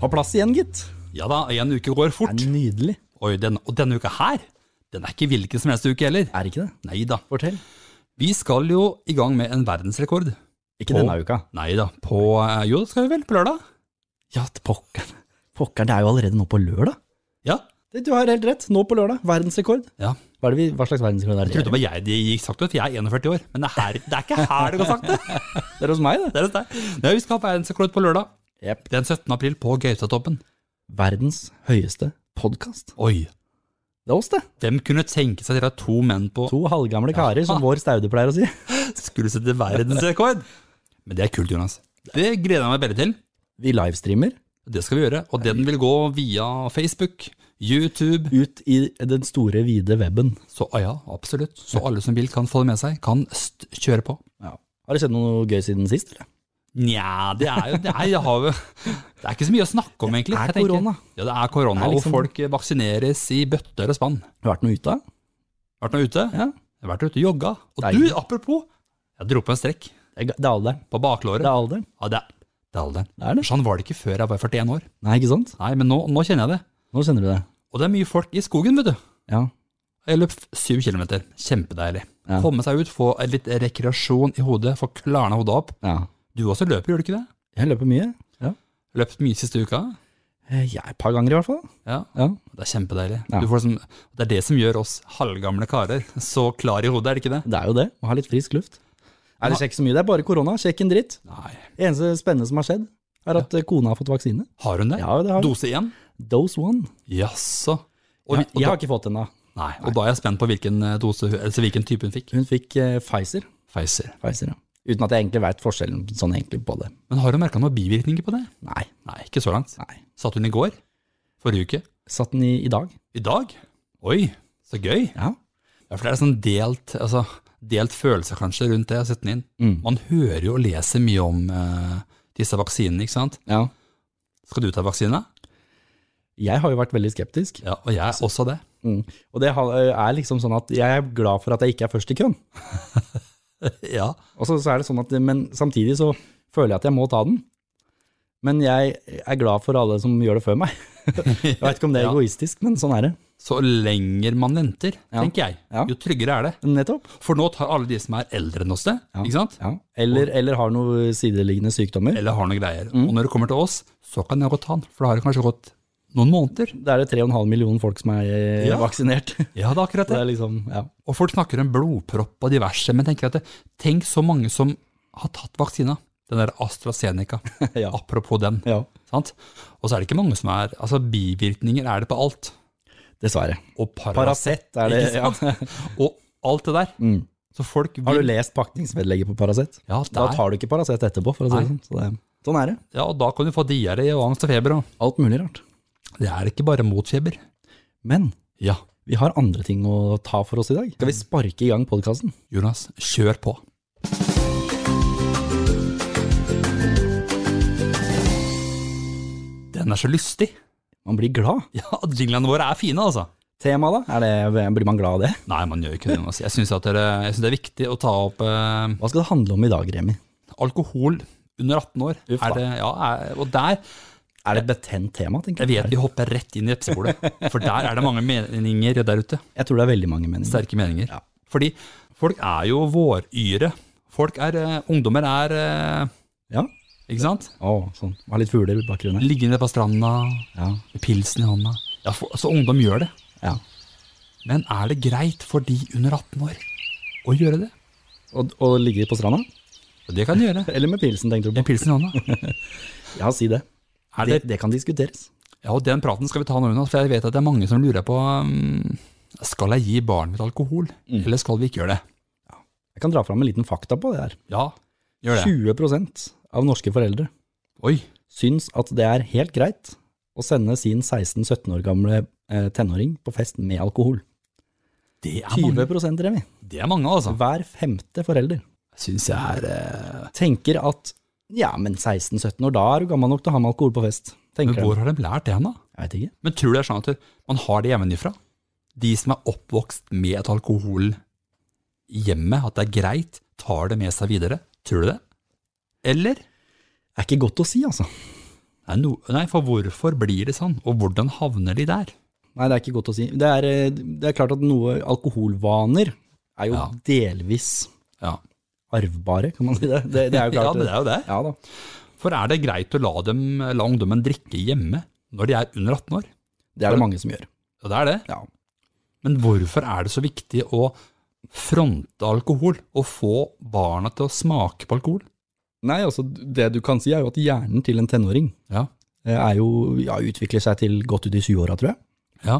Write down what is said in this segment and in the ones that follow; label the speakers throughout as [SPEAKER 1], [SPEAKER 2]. [SPEAKER 1] på plass igjen, gitt.
[SPEAKER 2] Ja da, en uke går
[SPEAKER 1] Det
[SPEAKER 2] fort.
[SPEAKER 1] er nydelig.
[SPEAKER 2] Oi, den, og denne uka her, den er ikke hvilken som helst uke heller.
[SPEAKER 1] Er det ikke det?
[SPEAKER 2] Nei da.
[SPEAKER 1] Fortell.
[SPEAKER 2] Vi skal jo i gang med en verdensrekord.
[SPEAKER 1] Ikke
[SPEAKER 2] På-
[SPEAKER 1] denne uka.
[SPEAKER 2] Nei da. På eh, Jo, det skal vi vel? På lørdag?
[SPEAKER 1] Ja, pokker. Pokker, det er jo allerede nå på lørdag.
[SPEAKER 2] Ja.
[SPEAKER 1] Det- Du har helt rett, nå på lørdag. Verdensrekord.
[SPEAKER 2] ja.
[SPEAKER 1] Hva, er det vi, hva slags verdensrekord er det?
[SPEAKER 2] Jeg trodde det var jeg det gikk sakte, for jeg er 41 år. Men det er, her, det er ikke her det går sakte.
[SPEAKER 1] Det er hos meg, det.
[SPEAKER 2] Det er hos deg. Nei, vi skal ha verdensrekord på lørdag.
[SPEAKER 1] Jep.
[SPEAKER 2] Den 17. april på Gautatoppen.
[SPEAKER 1] Verdens høyeste podkast.
[SPEAKER 2] Oi.
[SPEAKER 1] Det er oss, det.
[SPEAKER 2] Hvem kunne tenke seg dere to menn på
[SPEAKER 1] To halvgamle karer, som vår staude pleier å si.
[SPEAKER 2] skulle sette verdensrekord? Men det er kult, Jonas. Det gleder jeg meg veldig til.
[SPEAKER 1] Vi livestreamer
[SPEAKER 2] Det skal vi gjøre. Og den vil gå via Facebook, YouTube
[SPEAKER 1] ut i den store, vide webben.
[SPEAKER 2] Så ah, ja, absolutt. Så alle som vil, kan få det med seg. Kan st kjøre på.
[SPEAKER 1] Har det skjedd noe gøy siden sist? Eller?
[SPEAKER 2] Nja, det er jo det er, det, har, jo- det er ikke så mye å snakke om, egentlig.
[SPEAKER 1] er
[SPEAKER 2] jeg tenker.
[SPEAKER 1] korona.
[SPEAKER 2] Ja, det er korona,
[SPEAKER 1] Det er liksom-
[SPEAKER 2] og folk vaksineres i bøtter og spann.
[SPEAKER 1] Har vært noe ute av?
[SPEAKER 2] Vært noe ute?
[SPEAKER 1] Ja.
[SPEAKER 2] Jeg har vært ute og jogga. Og
[SPEAKER 1] Deilig.
[SPEAKER 2] du, apropos, jeg dro på en strekk
[SPEAKER 1] Det er ga- det er alderen. Det
[SPEAKER 2] på
[SPEAKER 1] er
[SPEAKER 2] baklåret.
[SPEAKER 1] alderen.
[SPEAKER 2] Ja, det, er- det er alderen.
[SPEAKER 1] Det er det.
[SPEAKER 2] Sånn var det ikke før jeg var 41 år.
[SPEAKER 1] Nei, ikke sant?
[SPEAKER 2] Nei, men nå, nå kjenner jeg det.
[SPEAKER 1] Nå kjenner du det.
[SPEAKER 2] Og det er mye folk i skogen, vet du.
[SPEAKER 1] Ja.
[SPEAKER 2] Jeg løp syv kilometer. Kjempedeilig.
[SPEAKER 1] Ja.
[SPEAKER 2] Komme seg ut, få litt rekreasjon i hodet, få klarna hodet opp.
[SPEAKER 1] ja.
[SPEAKER 2] Du også løper, gjør du ikke det?
[SPEAKER 1] Jeg løper mye. Ja.
[SPEAKER 2] Løpt mye siste uka.
[SPEAKER 1] Eh, Jeg, et par ganger i hvert fall.
[SPEAKER 2] Ja,
[SPEAKER 1] Ja.
[SPEAKER 2] det er kjempedeilig.
[SPEAKER 1] Ja.
[SPEAKER 2] Du får liksom, det er det som gjør oss halvgamle karer så klar i hodet, er det ikke det?
[SPEAKER 1] Det er jo det. Å ha litt frisk luft. Nei, det skjer ikke så mye. Det er bare korona. Sjekk en dritt.
[SPEAKER 2] Nei.
[SPEAKER 1] Det eneste spennende som har skjedd, er at eh, kona har fått vaksine.
[SPEAKER 2] Har hun det?
[SPEAKER 1] Ja, det har hun.
[SPEAKER 2] Dose én?
[SPEAKER 1] Dose one.
[SPEAKER 2] Jaså. Og,
[SPEAKER 1] Ja,
[SPEAKER 2] vi- og,
[SPEAKER 1] jeg
[SPEAKER 2] da-
[SPEAKER 1] har ikke fått den da.
[SPEAKER 2] nei, og da er jeg spent på hvilken, eh, dose, altså hvilken type hun fikk.
[SPEAKER 1] Hun fikk eh, Pfizer.
[SPEAKER 2] Pfizer.
[SPEAKER 1] Pfizer, ja. Uten at jeg egentlig vet forskjellen sånn egentlig på det.
[SPEAKER 2] Men har hun merka noen bivirkninger på det?
[SPEAKER 1] Nei,
[SPEAKER 2] Nei, ikke så langt.
[SPEAKER 1] nei.
[SPEAKER 2] Satt hun i går? Forrige uke?
[SPEAKER 1] Satt den i, i dag?
[SPEAKER 2] I dag? Oi, så gøy.
[SPEAKER 1] Ja.
[SPEAKER 2] Ja, for det er sånn delt, altså, delt følelse kanskje rundt det å sette den
[SPEAKER 1] Mm.
[SPEAKER 2] inn. Man hører jo og leser mye om eh, disse vaksinene, ikke sant.
[SPEAKER 1] Ja.
[SPEAKER 2] Skal du ta vaksine?
[SPEAKER 1] Jeg har jo vært veldig skeptisk.
[SPEAKER 2] Ja, og jeg er også det.
[SPEAKER 1] Mm. Og det har- er liksom sånn at jeg er glad for at jeg ikke er først i køen.
[SPEAKER 2] Ja.
[SPEAKER 1] Og så, så er det sånn at, men samtidig så føler jeg at jeg må ta den. Men jeg er glad for alle som gjør det før meg. Jeg vet ikke om det er
[SPEAKER 2] Ja.
[SPEAKER 1] egoistisk, men sånn er det.
[SPEAKER 2] Så lenger man venter,
[SPEAKER 1] Ja.
[SPEAKER 2] tenker jeg,
[SPEAKER 1] Ja.
[SPEAKER 2] jo tryggere er det.
[SPEAKER 1] Nettopp.
[SPEAKER 2] For nå tar alle de som er eldre enn oss det, ikke sant?
[SPEAKER 1] Ja. Eller, eller har noen sideliggende sykdommer.
[SPEAKER 2] Eller har noen greier. Og når det kommer til oss, så kan jeg godt ta den, for da har det kanskje gått noen måneder.
[SPEAKER 1] Da er det 3,5 millioner folk som er eh,
[SPEAKER 2] Ja.
[SPEAKER 1] vaksinert.
[SPEAKER 2] Ja, det er akkurat
[SPEAKER 1] Det
[SPEAKER 2] det.
[SPEAKER 1] er liksom, ja.
[SPEAKER 2] Og folk snakker om blodpropp og diverse, men tenker at det, tenk så mange som har tatt vaksina. Den der AstraZeneca,
[SPEAKER 1] Ja.
[SPEAKER 2] apropos den.
[SPEAKER 1] ja.
[SPEAKER 2] Sant? Og så er det ikke mange som er Altså, bivirkninger er det på alt.
[SPEAKER 1] Dessverre.
[SPEAKER 2] Og Paracet
[SPEAKER 1] Paracet er det.
[SPEAKER 2] ikke
[SPEAKER 1] Ja.
[SPEAKER 2] sant? Og alt det der. Så folk vil
[SPEAKER 1] Mm. Har du lest pakningsvedlegget på Paracet?
[SPEAKER 2] Ja,
[SPEAKER 1] Da
[SPEAKER 2] der.
[SPEAKER 1] tar du ikke Paracet etterpå, for å si det sånn. Så det, sånn er det.
[SPEAKER 2] Ja, og da kan du få diaré og angst og feber. Og.
[SPEAKER 1] Alt mulig rart.
[SPEAKER 2] Det er ikke bare mot feber.
[SPEAKER 1] Men
[SPEAKER 2] Ja,
[SPEAKER 1] vi har andre ting å ta for oss i dag. Skal vi sparke i gang podkasten?
[SPEAKER 2] Jonas, kjør på. Den er så lystig.
[SPEAKER 1] Man blir glad.
[SPEAKER 2] Ja, jinglene våre er fine, altså.
[SPEAKER 1] Tema, da? Er det, blir man glad av det?
[SPEAKER 2] Nei, man gjør ikke det. Jonas. Jeg syns det er viktig å ta opp eh,
[SPEAKER 1] Hva skal det handle om i dag, Remi?
[SPEAKER 2] alkohol under 18 år.
[SPEAKER 1] Uff da.
[SPEAKER 2] Er det, ja, er, og der
[SPEAKER 1] Er det et betent tema, tenker
[SPEAKER 2] Jeg vet vi hopper rett inn i vepsebordet, for der er det mange meninger der ute.
[SPEAKER 1] Jeg tror det er veldig mange meninger.
[SPEAKER 2] Sterke meninger.
[SPEAKER 1] Ja.
[SPEAKER 2] Fordi folk er jo våryre. Folk er, eh, Ungdommer er eh,
[SPEAKER 1] Ja?
[SPEAKER 2] Ikke sant?
[SPEAKER 1] Å, sånn. Har litt fugler i bakgrunnen. her.
[SPEAKER 2] Liggende på stranda,
[SPEAKER 1] Ja.
[SPEAKER 2] med pilsen i hånda. Ja, for, altså, ungdom gjør det.
[SPEAKER 1] ja.
[SPEAKER 2] Men er det greit for de under 18 år å gjøre det?
[SPEAKER 1] Og, og ligger på stranda?
[SPEAKER 2] Og det kan de gjøre.
[SPEAKER 1] Eller med pilsen, tenkte du på?
[SPEAKER 2] Med pilsen i hånda.
[SPEAKER 1] Ja, si det.
[SPEAKER 2] Er
[SPEAKER 1] Det,
[SPEAKER 2] det,
[SPEAKER 1] det kan diskuteres.
[SPEAKER 2] ja, og den praten skal vi ta nå, Jonas, for jeg vet at det er mange som lurer på um, Skal jeg gi barnet mitt alkohol, eller skal vi ikke gjøre det?
[SPEAKER 1] Jeg kan dra fram en liten fakta på det her.
[SPEAKER 2] Ja, gjør det.
[SPEAKER 1] 20 av norske foreldre
[SPEAKER 2] Oi.
[SPEAKER 1] syns at det er helt greit å sende sin 16-17 år gamle eh, tenåring på fest med alkohol.
[SPEAKER 2] Det er
[SPEAKER 1] 20
[SPEAKER 2] mange,
[SPEAKER 1] Remi.
[SPEAKER 2] det er mange altså.
[SPEAKER 1] Hver femte forelder
[SPEAKER 2] Syns jeg er eh,
[SPEAKER 1] tenker at ja, men 16-17 år, da er du gammel nok til å ha med alkohol på fest.
[SPEAKER 2] Men
[SPEAKER 1] Tenker de.
[SPEAKER 2] hvor har de lært det hen, da?
[SPEAKER 1] Jeg vet ikke.
[SPEAKER 2] Men tror du det er sånn at man har det hjemmefra? De som er oppvokst med et alkohol hjemme, at det er greit, tar det med seg videre? Tror du det? Eller?
[SPEAKER 1] Det er ikke godt å si, altså.
[SPEAKER 2] Nei, no, nei, for hvorfor blir det sånn, og hvordan havner de der?
[SPEAKER 1] Nei, det er ikke godt å si. Det er, eh, det er klart at noe alkoholvaner er jo
[SPEAKER 2] Ja.
[SPEAKER 1] delvis
[SPEAKER 2] Ja,
[SPEAKER 1] arvbare, kan man si det. Det, det er jo klart.
[SPEAKER 2] ja men det er jo det.
[SPEAKER 1] Ja da.
[SPEAKER 2] For er det greit å la, dem, la ungdommen drikke hjemme når de er under 18 år?
[SPEAKER 1] Det er det mange som gjør.
[SPEAKER 2] Ja, det er det.
[SPEAKER 1] Ja.
[SPEAKER 2] Men hvorfor er det så viktig å fronte alkohol, og få barna til å smake på alkohol?
[SPEAKER 1] Nei, altså, det du kan si er jo at hjernen til en tenåring
[SPEAKER 2] Ja,
[SPEAKER 1] eh, er jo, ja, utvikler seg til godt ut i 20-åra, tror jeg.
[SPEAKER 2] ja,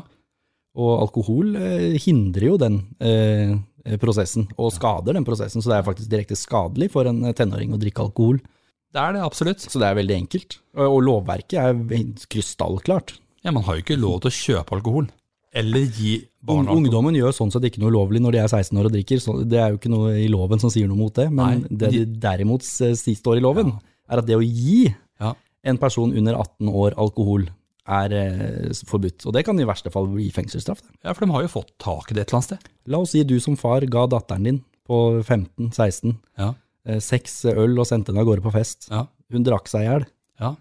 [SPEAKER 1] Og alkohol eh, hindrer jo den eh, prosessen, og skader den prosessen, så det er faktisk direkte skadelig for en eh, tenåring å drikke alkohol.
[SPEAKER 2] det er det absolutt.
[SPEAKER 1] Så det er veldig enkelt. Og, og lovverket er ve- krystallklart.
[SPEAKER 2] Ja, Man har jo ikke lov til å kjøpe alkohol, eller gi
[SPEAKER 1] Ung,
[SPEAKER 2] barna alkohol.
[SPEAKER 1] ungdommen gjør sånn sett ikke noe ulovlig når de er 16 år og drikker, så det er jo ikke noe i loven som sier noe mot det, men
[SPEAKER 2] Nei,
[SPEAKER 1] det
[SPEAKER 2] de-
[SPEAKER 1] de derimot eh, si- står i loven, er at det å gi
[SPEAKER 2] Ja.
[SPEAKER 1] en person under 18 år alkohol er eh, forbudt, og det kan i verste fall bli fengselsstraff. det.
[SPEAKER 2] ja, for de har jo fått tak i det et eller annet sted.
[SPEAKER 1] La oss si du som far ga datteren din på 15-16
[SPEAKER 2] Ja,
[SPEAKER 1] eh, seks øl og sendte henne av gårde på fest.
[SPEAKER 2] ja,
[SPEAKER 1] Hun drakk seg i hjel.
[SPEAKER 2] ja.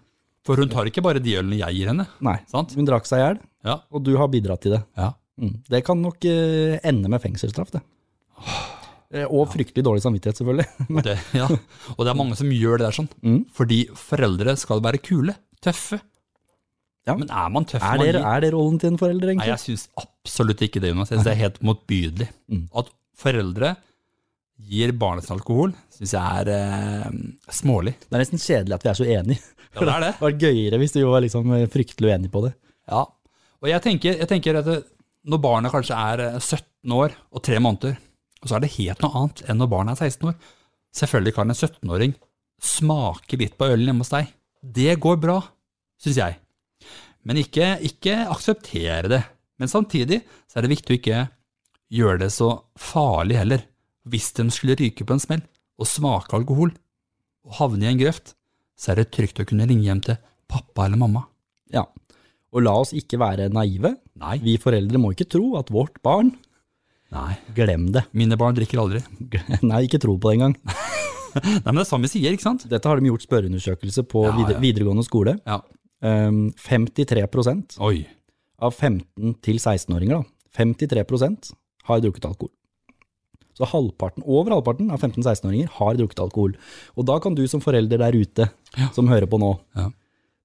[SPEAKER 2] For hun tar ikke bare de ølene jeg gir henne.
[SPEAKER 1] Nei,
[SPEAKER 2] Sant.
[SPEAKER 1] hun drakk seg i hjel,
[SPEAKER 2] Ja.
[SPEAKER 1] og du har bidratt til det.
[SPEAKER 2] Ja.
[SPEAKER 1] Mm. Det kan nok eh, ende med fengselsstraff, det. Eh, Og fryktelig dårlig samvittighet, selvfølgelig.
[SPEAKER 2] Og Det, ja. Og det er mange som gjør det der sånn.
[SPEAKER 1] Mm.
[SPEAKER 2] Fordi foreldre skal være kule, tøffe.
[SPEAKER 1] Ja.
[SPEAKER 2] Men er man tøff?
[SPEAKER 1] Er
[SPEAKER 2] man
[SPEAKER 1] det,
[SPEAKER 2] gir-
[SPEAKER 1] er det rollen til en forelder,
[SPEAKER 2] Nei,
[SPEAKER 1] egentlig?
[SPEAKER 2] jeg syns absolutt ikke det, Jonas. Jeg synes det er helt motbydelig.
[SPEAKER 1] Mm.
[SPEAKER 2] At foreldre gir barna sin alkohol, syns jeg er eh, smålig.
[SPEAKER 1] Det er nesten kjedelig at vi er så enige.
[SPEAKER 2] Ja, det er det.
[SPEAKER 1] Det var gøyere hvis du var liksom eh, fryktelig uenig på det.
[SPEAKER 2] Ja. Og jeg tenker, jeg tenker at det, når barna kanskje er eh, 17 år og 3 måneder, så er det helt noe annet enn når barna er 16 år. Selvfølgelig kan en 17-åring smake litt på ølen hjemme hos deg. Det går bra, syns jeg. Men ikke, ikke akseptere det. Men samtidig så er det viktig å ikke gjøre det så farlig heller. Hvis de skulle ryke på en smell og smake alkohol og havne i en grøft, så er det trygt å kunne ringe hjem til pappa eller mamma.
[SPEAKER 1] Ja. Og la oss ikke være naive.
[SPEAKER 2] Nei.
[SPEAKER 1] Vi foreldre må ikke tro at vårt barn
[SPEAKER 2] Nei.
[SPEAKER 1] Glem det.
[SPEAKER 2] Mine barn drikker aldri.
[SPEAKER 1] Nei, ikke tro på det engang.
[SPEAKER 2] Nei, men det er sånn vi sier, ikke sant?
[SPEAKER 1] Dette har de gjort spørreundersøkelse på
[SPEAKER 2] Ja,
[SPEAKER 1] vide
[SPEAKER 2] ja.
[SPEAKER 1] videregående skole.
[SPEAKER 2] Ja.
[SPEAKER 1] Um, 53
[SPEAKER 2] Oi.
[SPEAKER 1] av 15 til 16-åringer, da, 53 har drukket alkohol. Så halvparten, over halvparten av 15-16-åringer har drukket alkohol. Og da kan du som forelder der ute,
[SPEAKER 2] Ja.
[SPEAKER 1] som hører på nå,
[SPEAKER 2] Ja.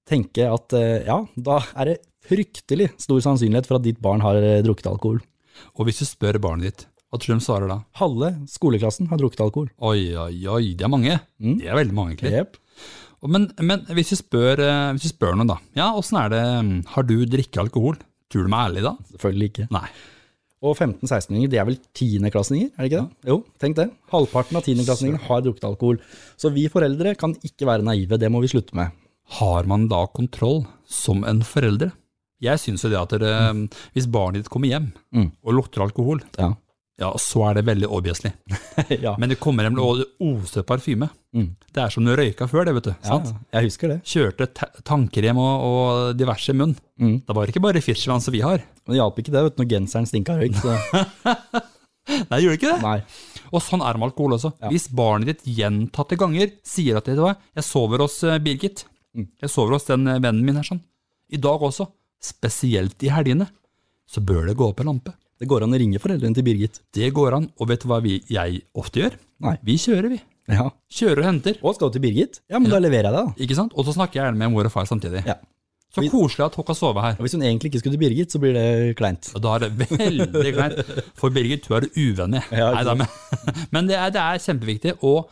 [SPEAKER 1] tenke at eh, ja, da er det fryktelig stor sannsynlighet for at ditt barn har eh, drukket alkohol.
[SPEAKER 2] Og hvis du spør barnet ditt, hva tror du de svarer da?
[SPEAKER 1] Halve skoleklassen har drukket alkohol.
[SPEAKER 2] Oi, oi, oi, det er mange.
[SPEAKER 1] Mm.
[SPEAKER 2] Det er veldig mange, egentlig.
[SPEAKER 1] Jep.
[SPEAKER 2] Og Men, men hvis, du spør, eh, hvis du spør noen da, ja, åssen er det, mm, har du drikket alkohol? Tror du meg ærlig da?
[SPEAKER 1] Selvfølgelig ikke.
[SPEAKER 2] Nei.
[SPEAKER 1] Og 15-16-åringer, de er vel tiendeklassinger, er det ikke det? Jo, tenk det. Halvparten av tiendeklassingene har drukket alkohol. Så vi foreldre kan ikke være naive, det må vi slutte med.
[SPEAKER 2] Har man da kontroll som en forelder? Jeg synes jo det at dere, mm, hvis barnet ditt kommer hjem
[SPEAKER 1] Mm.
[SPEAKER 2] og lukter alkohol,
[SPEAKER 1] Ja.
[SPEAKER 2] ja, så er det veldig obviously.
[SPEAKER 1] ja.
[SPEAKER 2] Men det kommer hjem og det oser parfyme.
[SPEAKER 1] Mm.
[SPEAKER 2] Det er som du røyka før det, vet du.
[SPEAKER 1] Ja,
[SPEAKER 2] sant?
[SPEAKER 1] jeg husker det.
[SPEAKER 2] kjørte ta- tannkrem og, og diverse i munn.
[SPEAKER 1] Mm.
[SPEAKER 2] Det var ikke bare Fischerland som vi har.
[SPEAKER 1] Men det hjalp ikke det vet, du, når genseren stinka røyk. Så
[SPEAKER 2] Nei, gjorde ikke det?
[SPEAKER 1] nei.
[SPEAKER 2] Og sånn er det med alkohol også. Hvis barnet ditt gjentatte ganger sier at vet du hva, jeg sover hos eh, Birgit,
[SPEAKER 1] Mm.
[SPEAKER 2] jeg sover hos den eh, vennen min her sånn, i dag også, spesielt i helgene, så bør det gå opp en lampe.
[SPEAKER 1] Det går an å ringe foreldrene til Birgit.
[SPEAKER 2] Det går an, og vet du hva vi, jeg ofte gjør?
[SPEAKER 1] Nei.
[SPEAKER 2] Vi kjører, vi.
[SPEAKER 1] Ja.
[SPEAKER 2] Kjører og henter.
[SPEAKER 1] Å, skal du til Birgit? Ja, men da leverer jeg deg, da.
[SPEAKER 2] Ikke sant? Og så snakker jeg gjerne med mor og far samtidig.
[SPEAKER 1] Ja.
[SPEAKER 2] Så koselig at hun kan sove her.
[SPEAKER 1] Og hvis hun egentlig ikke skulle til Birgit, så blir det kleint.
[SPEAKER 2] Og Da er det veldig kleint. For Birgit, du er uvenner.
[SPEAKER 1] Ja, ikke
[SPEAKER 2] Nei, da, men men det, er, det er kjempeviktig. Og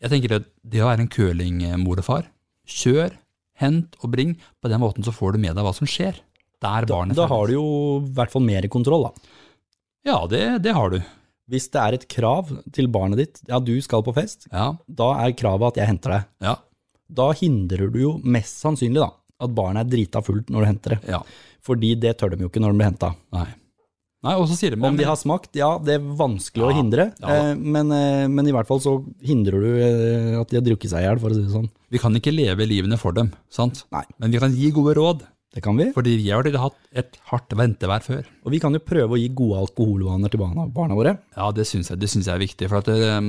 [SPEAKER 2] jeg tenker at det å være en curlingmor og far, kjør, hent og bring. På den måten så får du med deg hva som skjer. Der barnet
[SPEAKER 1] Da har du jo i hvert fall mer kontroll, da.
[SPEAKER 2] Ja, det, det har du.
[SPEAKER 1] Hvis det er et krav til barnet ditt, ja, du skal på fest,
[SPEAKER 2] Ja,
[SPEAKER 1] da er kravet at jeg henter deg.
[SPEAKER 2] ja,
[SPEAKER 1] Da hindrer du jo mest sannsynlig da, at barnet er drita fullt når du henter det.
[SPEAKER 2] ja.
[SPEAKER 1] Fordi det tør de jo ikke når de blir henta.
[SPEAKER 2] Nei. Nei, og så sier de,
[SPEAKER 1] Om
[SPEAKER 2] men,
[SPEAKER 1] de har smakt, ja, det er vanskelig å
[SPEAKER 2] Ja,
[SPEAKER 1] hindre,
[SPEAKER 2] ja da.
[SPEAKER 1] eh, men, eh, men i hvert fall så hindrer du eh, at de har drukket seg i hjel, for å si det sånn.
[SPEAKER 2] vi kan ikke leve livene for dem, sant?
[SPEAKER 1] Nei.
[SPEAKER 2] Men vi kan gi gode råd,
[SPEAKER 1] Det kan vi.
[SPEAKER 2] fordi vi har hatt et hardt ventevær før.
[SPEAKER 1] Og vi kan jo prøve å gi gode alkoholvaner til barna, barna våre.
[SPEAKER 2] Ja, det syns jeg, det synes jeg er viktig. For at eh,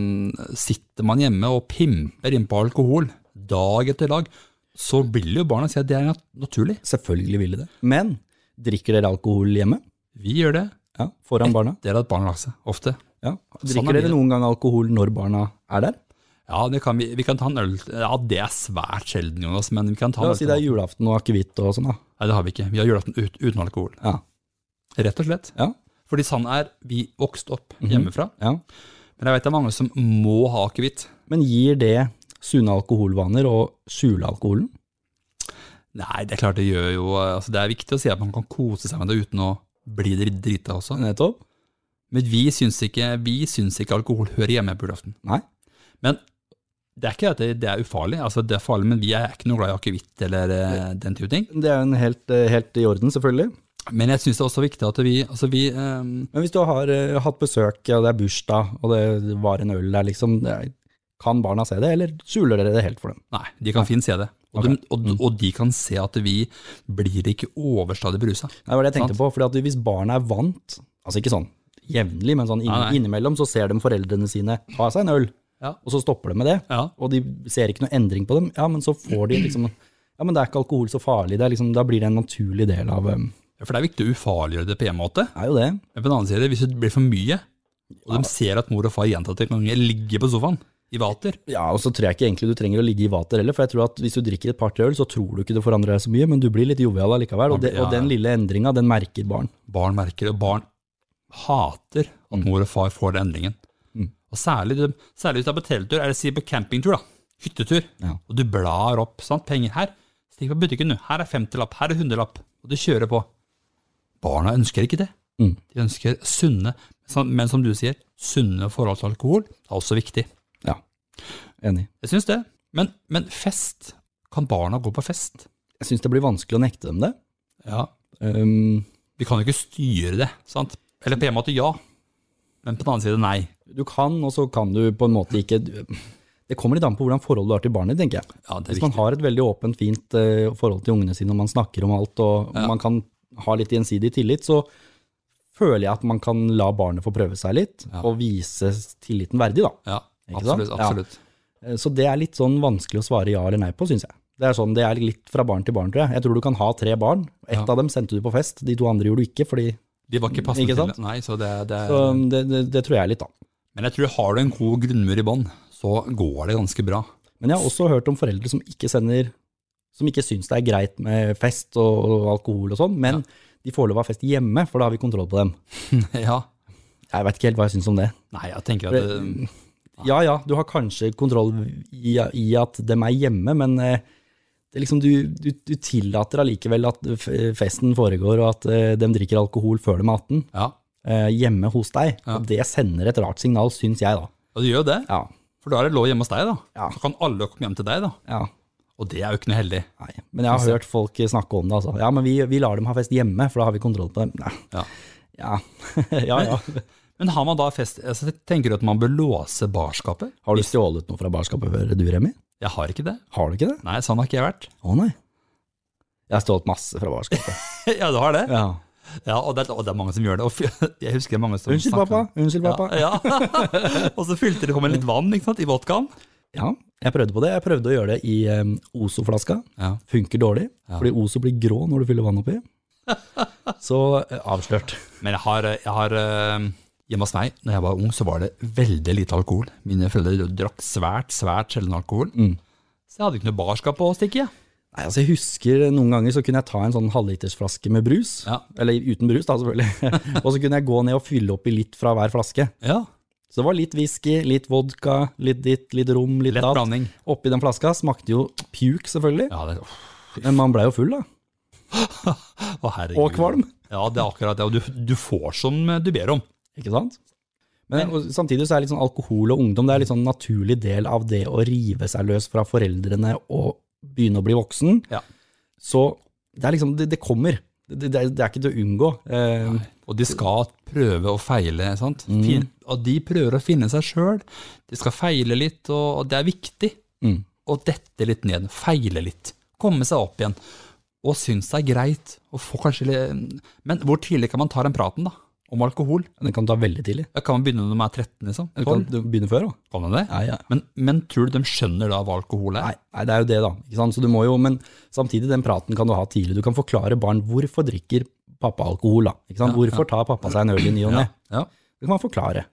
[SPEAKER 2] sitter man hjemme og pimper innpå alkohol dag etter dag, så vil jo barna si at det er nat- naturlig.
[SPEAKER 1] Selvfølgelig vil de det. Men drikker dere alkohol hjemme?
[SPEAKER 2] Vi gjør det.
[SPEAKER 1] Ja, Foran barna?
[SPEAKER 2] Det er at barna lager seg, ofte.
[SPEAKER 1] Ja.
[SPEAKER 2] Sånn er
[SPEAKER 1] Drikker dere
[SPEAKER 2] livet.
[SPEAKER 1] noen gang alkohol når barna er der?
[SPEAKER 2] Ja, det kan vi, vi kan ta en øl. Ja, det er svært sjelden, Jonas, men vi kan ta
[SPEAKER 1] La
[SPEAKER 2] en
[SPEAKER 1] oss si
[SPEAKER 2] øl.
[SPEAKER 1] det
[SPEAKER 2] til
[SPEAKER 1] er
[SPEAKER 2] mat.
[SPEAKER 1] julaften og akevitt og sånn, da.
[SPEAKER 2] Nei, det har vi ikke. Vi har julaften ut, uten alkohol.
[SPEAKER 1] Ja.
[SPEAKER 2] Rett og slett.
[SPEAKER 1] Ja. Mhm.
[SPEAKER 2] Fordi sånn er vi vokst opp hjemmefra.
[SPEAKER 1] Ja.
[SPEAKER 2] Men jeg vet det er mange som må ha akevitt.
[SPEAKER 1] Men gir det sunne alkoholvaner å skjule alkoholen?
[SPEAKER 2] Nei, det er klart det gjør jo altså Det er viktig å si at man kan kose seg med det uten å bli dri- drita også.
[SPEAKER 1] Nettopp.
[SPEAKER 2] Men vi syns ikke, vi syns ikke alkohol hører hjemme på julaften.
[SPEAKER 1] Nei.
[SPEAKER 2] Men det er ikke at det, det er ufarlig, altså det er farlig, men vi er ikke noe glad i akevitt eller eh, den type ting.
[SPEAKER 1] Det er jo en helt, eh, helt i orden, selvfølgelig.
[SPEAKER 2] Men jeg syns det er også viktig at vi, altså vi eh,
[SPEAKER 1] Men hvis du har eh, hatt besøk, ja, det er bursdag, og det var en øl der, liksom, det er, kan barna se det, eller skjuler dere det helt for dem?
[SPEAKER 2] Nei, de kan fint se det. Og, de, og, og de kan se at vi blir ikke overstadig berusa.
[SPEAKER 1] Det var det jeg tenkte på, fordi at hvis barna er vant, altså ikke sånn jevnlig, men sånn inn,
[SPEAKER 2] Nei, nei.
[SPEAKER 1] innimellom, så ser de foreldrene sine ta seg en øl,
[SPEAKER 2] Ja.
[SPEAKER 1] og så stopper de med det,
[SPEAKER 2] Ja.
[SPEAKER 1] og de ser ikke noe endring på dem, ja, men så får de liksom, ja, men det er ikke alkohol så farlig, det er liksom, da blir det en naturlig del av, eh,
[SPEAKER 2] For det er viktig å ufarliggjøre det på en måte.
[SPEAKER 1] er jo det.
[SPEAKER 2] Men på den annen side, hvis det blir for mye, og de ser at mor og far gjentatte ganger ligger på sofaen i vater
[SPEAKER 1] Ja, og så tror jeg ikke egentlig du trenger å ligge i vater heller, for jeg tror at hvis du drikker et par tre øl, så tror du ikke det forandrer deg så mye, men du blir litt jovial allikevel, og, det, og den lille endringa, den merker barn.
[SPEAKER 2] Barn merker det, og barn hater
[SPEAKER 1] Mm.
[SPEAKER 2] at mor og far får den endringen. Og særlig, de, særlig hvis du er på teletur, eller si på campingtur, da, hyttetur,
[SPEAKER 1] Ja.
[SPEAKER 2] og du blar opp sant? penger her. Stikk på butikken nå. Her er 50-lapp, her er 100-lapp, og du kjører på. Barna ønsker ikke det.
[SPEAKER 1] Mm.
[SPEAKER 2] De ønsker sunne, sånn- men som du sier, sunne forhold til alkohol er også viktig.
[SPEAKER 1] Ja, enig.
[SPEAKER 2] Jeg syns det. Men, men fest, kan barna gå på fest?
[SPEAKER 1] Jeg syns det blir vanskelig å nekte dem det.
[SPEAKER 2] Ja,
[SPEAKER 1] Um,
[SPEAKER 2] Vi kan jo ikke styre det, sant? Eller på en måte ja, men på den annen side nei.
[SPEAKER 1] du kan, og så kan du på en måte ikke Det kommer litt an på hvordan forholdet du har til barnet, tenker jeg.
[SPEAKER 2] Ja, det
[SPEAKER 1] Hvis man har et veldig åpent, fint eh, forhold til ungene sine, og man snakker om alt, og man kan ha litt gjensidig tillit, så føler jeg at man kan la barnet få prøve seg litt, og vise tilliten verdig, da.
[SPEAKER 2] Ja,
[SPEAKER 1] Ikke sant?
[SPEAKER 2] absolutt.
[SPEAKER 1] Ja.
[SPEAKER 2] absolutt.
[SPEAKER 1] Eh, Så det er litt sånn vanskelig å svare ja eller nei på, syns jeg. Det er sånn, det er litt fra barn til barn, tror jeg. Jeg tror du kan ha tre barn. Ett
[SPEAKER 2] Ja.
[SPEAKER 1] av dem sendte du på fest, de to andre gjorde du ikke. fordi
[SPEAKER 2] De var ikke
[SPEAKER 1] Mm, Ikke
[SPEAKER 2] passende
[SPEAKER 1] sant?
[SPEAKER 2] til det. Nei, så det, det
[SPEAKER 1] så, det, det, det tror jeg litt, da.
[SPEAKER 2] Men jeg tror har du en god grunnmur i bånn, så går det ganske bra.
[SPEAKER 1] Men jeg har også hørt om foreldre som ikke sender Som ikke syns det er greit med fest og, og alkohol og sånn, men de får lov å ha fest hjemme, for da har vi kontroll på dem.
[SPEAKER 2] ja.
[SPEAKER 1] Jeg vet ikke helt hva jeg syns om det.
[SPEAKER 2] Nei, jeg tenker at det,
[SPEAKER 1] Ja ja, du har kanskje kontroll i, i at dem er hjemme, men eh, det er liksom, du, du, du tillater allikevel at f- festen foregår, og at eh, dem drikker alkohol før de er 18,
[SPEAKER 2] ja.
[SPEAKER 1] eh, hjemme hos deg. Og det sender et rart signal, syns jeg, da.
[SPEAKER 2] Og du gjør jo det,
[SPEAKER 1] Ja.
[SPEAKER 2] for da er det lov hjemme hos deg, da.
[SPEAKER 1] Ja.
[SPEAKER 2] Så kan alle komme hjem til deg, da.
[SPEAKER 1] ja.
[SPEAKER 2] Og det er jo ikke noe heldig.
[SPEAKER 1] Nei, men jeg har hørt folk snakke om det. altså. Ja, men vi, vi lar dem ha fest hjemme, for da har vi kontroll på dem. Nei.
[SPEAKER 2] Ja.
[SPEAKER 1] Ja. ja, ja.
[SPEAKER 2] Men har man da fest, altså, tenker du at man bør låse barskapet?
[SPEAKER 1] Har du stjålet noe fra barskapet før, du Remi?
[SPEAKER 2] Jeg har ikke det.
[SPEAKER 1] Har du ikke det?
[SPEAKER 2] Nei, sånn har ikke jeg vært.
[SPEAKER 1] Å nei. Jeg har stjålet masse fra barskapet.
[SPEAKER 2] ja, du har det?
[SPEAKER 1] Ja.
[SPEAKER 2] Ja, og det, og det er mange som gjør det. Og fy- jeg husker mange som
[SPEAKER 1] Unnskyld,
[SPEAKER 2] snakket-
[SPEAKER 1] pappa. Unnskyld, pappa.
[SPEAKER 2] Ja, ja. og så fylte det kom med litt vann ikke sant, i vodkaen.
[SPEAKER 1] Ja, jeg prøvde på det. Jeg prøvde å gjøre det i em, Ozo-flaska.
[SPEAKER 2] Ja.
[SPEAKER 1] Funker dårlig, fordi Ozo blir grå når du fyller vann oppi. Så eh, avslørt.
[SPEAKER 2] Men jeg har, jeg har eh, Hjemme hos meg, når jeg var ung, så var det veldig lite alkohol. Mine foreldre drakk svært, svært sjelden alkohol.
[SPEAKER 1] Mm.
[SPEAKER 2] Så jeg hadde ikke noe barskap å stikke i. jeg.
[SPEAKER 1] Nei, altså jeg husker Noen ganger så kunne jeg ta en sånn halvlitersflaske med brus.
[SPEAKER 2] Ja.
[SPEAKER 1] Eller uten brus, da, selvfølgelig. og så kunne jeg gå ned og fylle oppi litt fra hver flaske.
[SPEAKER 2] Ja,
[SPEAKER 1] Så det var litt whisky, litt vodka, litt ditt, litt rom, litt
[SPEAKER 2] Lett
[SPEAKER 1] datt.
[SPEAKER 2] blanding.
[SPEAKER 1] Oppi den flaska smakte jo puke, selvfølgelig.
[SPEAKER 2] Ja, det,
[SPEAKER 1] Men man blei jo full, da.
[SPEAKER 2] å, herregud.
[SPEAKER 1] Og kvalm.
[SPEAKER 2] Ja, det er akkurat det. Og du, du får som du ber om.
[SPEAKER 1] Ikke sant? Men og samtidig så er litt sånn alkohol og ungdom det er litt sånn naturlig del av det å rive seg løs fra foreldrene og begynne å bli voksen.
[SPEAKER 2] Ja.
[SPEAKER 1] Så det er liksom, det, det kommer. Det, det, er- det er ikke til å unngå. Eh,
[SPEAKER 2] Og de skal prøve og feile. sant?
[SPEAKER 1] Mm.
[SPEAKER 2] Fin, og de prøver å finne seg sjøl. De skal feile litt, og, og det er viktig
[SPEAKER 1] Mm.
[SPEAKER 2] å dette litt ned. Feile litt. Komme seg opp igjen. Og synes det er greit. å få kanskje litt, Men hvor tidlig kan man ta den praten, da? om alkohol.
[SPEAKER 1] Den kan du ta veldig tidlig.
[SPEAKER 2] Da kan man begynne når man er 13, liksom.
[SPEAKER 1] Du kan
[SPEAKER 2] 12.
[SPEAKER 1] du begynne før òg.
[SPEAKER 2] Kan man det?
[SPEAKER 1] Ja, ja.
[SPEAKER 2] Men, men tror du de skjønner da hva alkohol er?
[SPEAKER 1] Nei, nei, det er jo det, da. Ikke sant? Så du må jo, men samtidig, den praten kan du ha tidlig. Du kan forklare barn hvorfor drikker pappa alkohol. da. Ikke sant? Hvorfor tar pappa seg en øl i ny og ne?
[SPEAKER 2] Ja.
[SPEAKER 1] Det kan man forklare.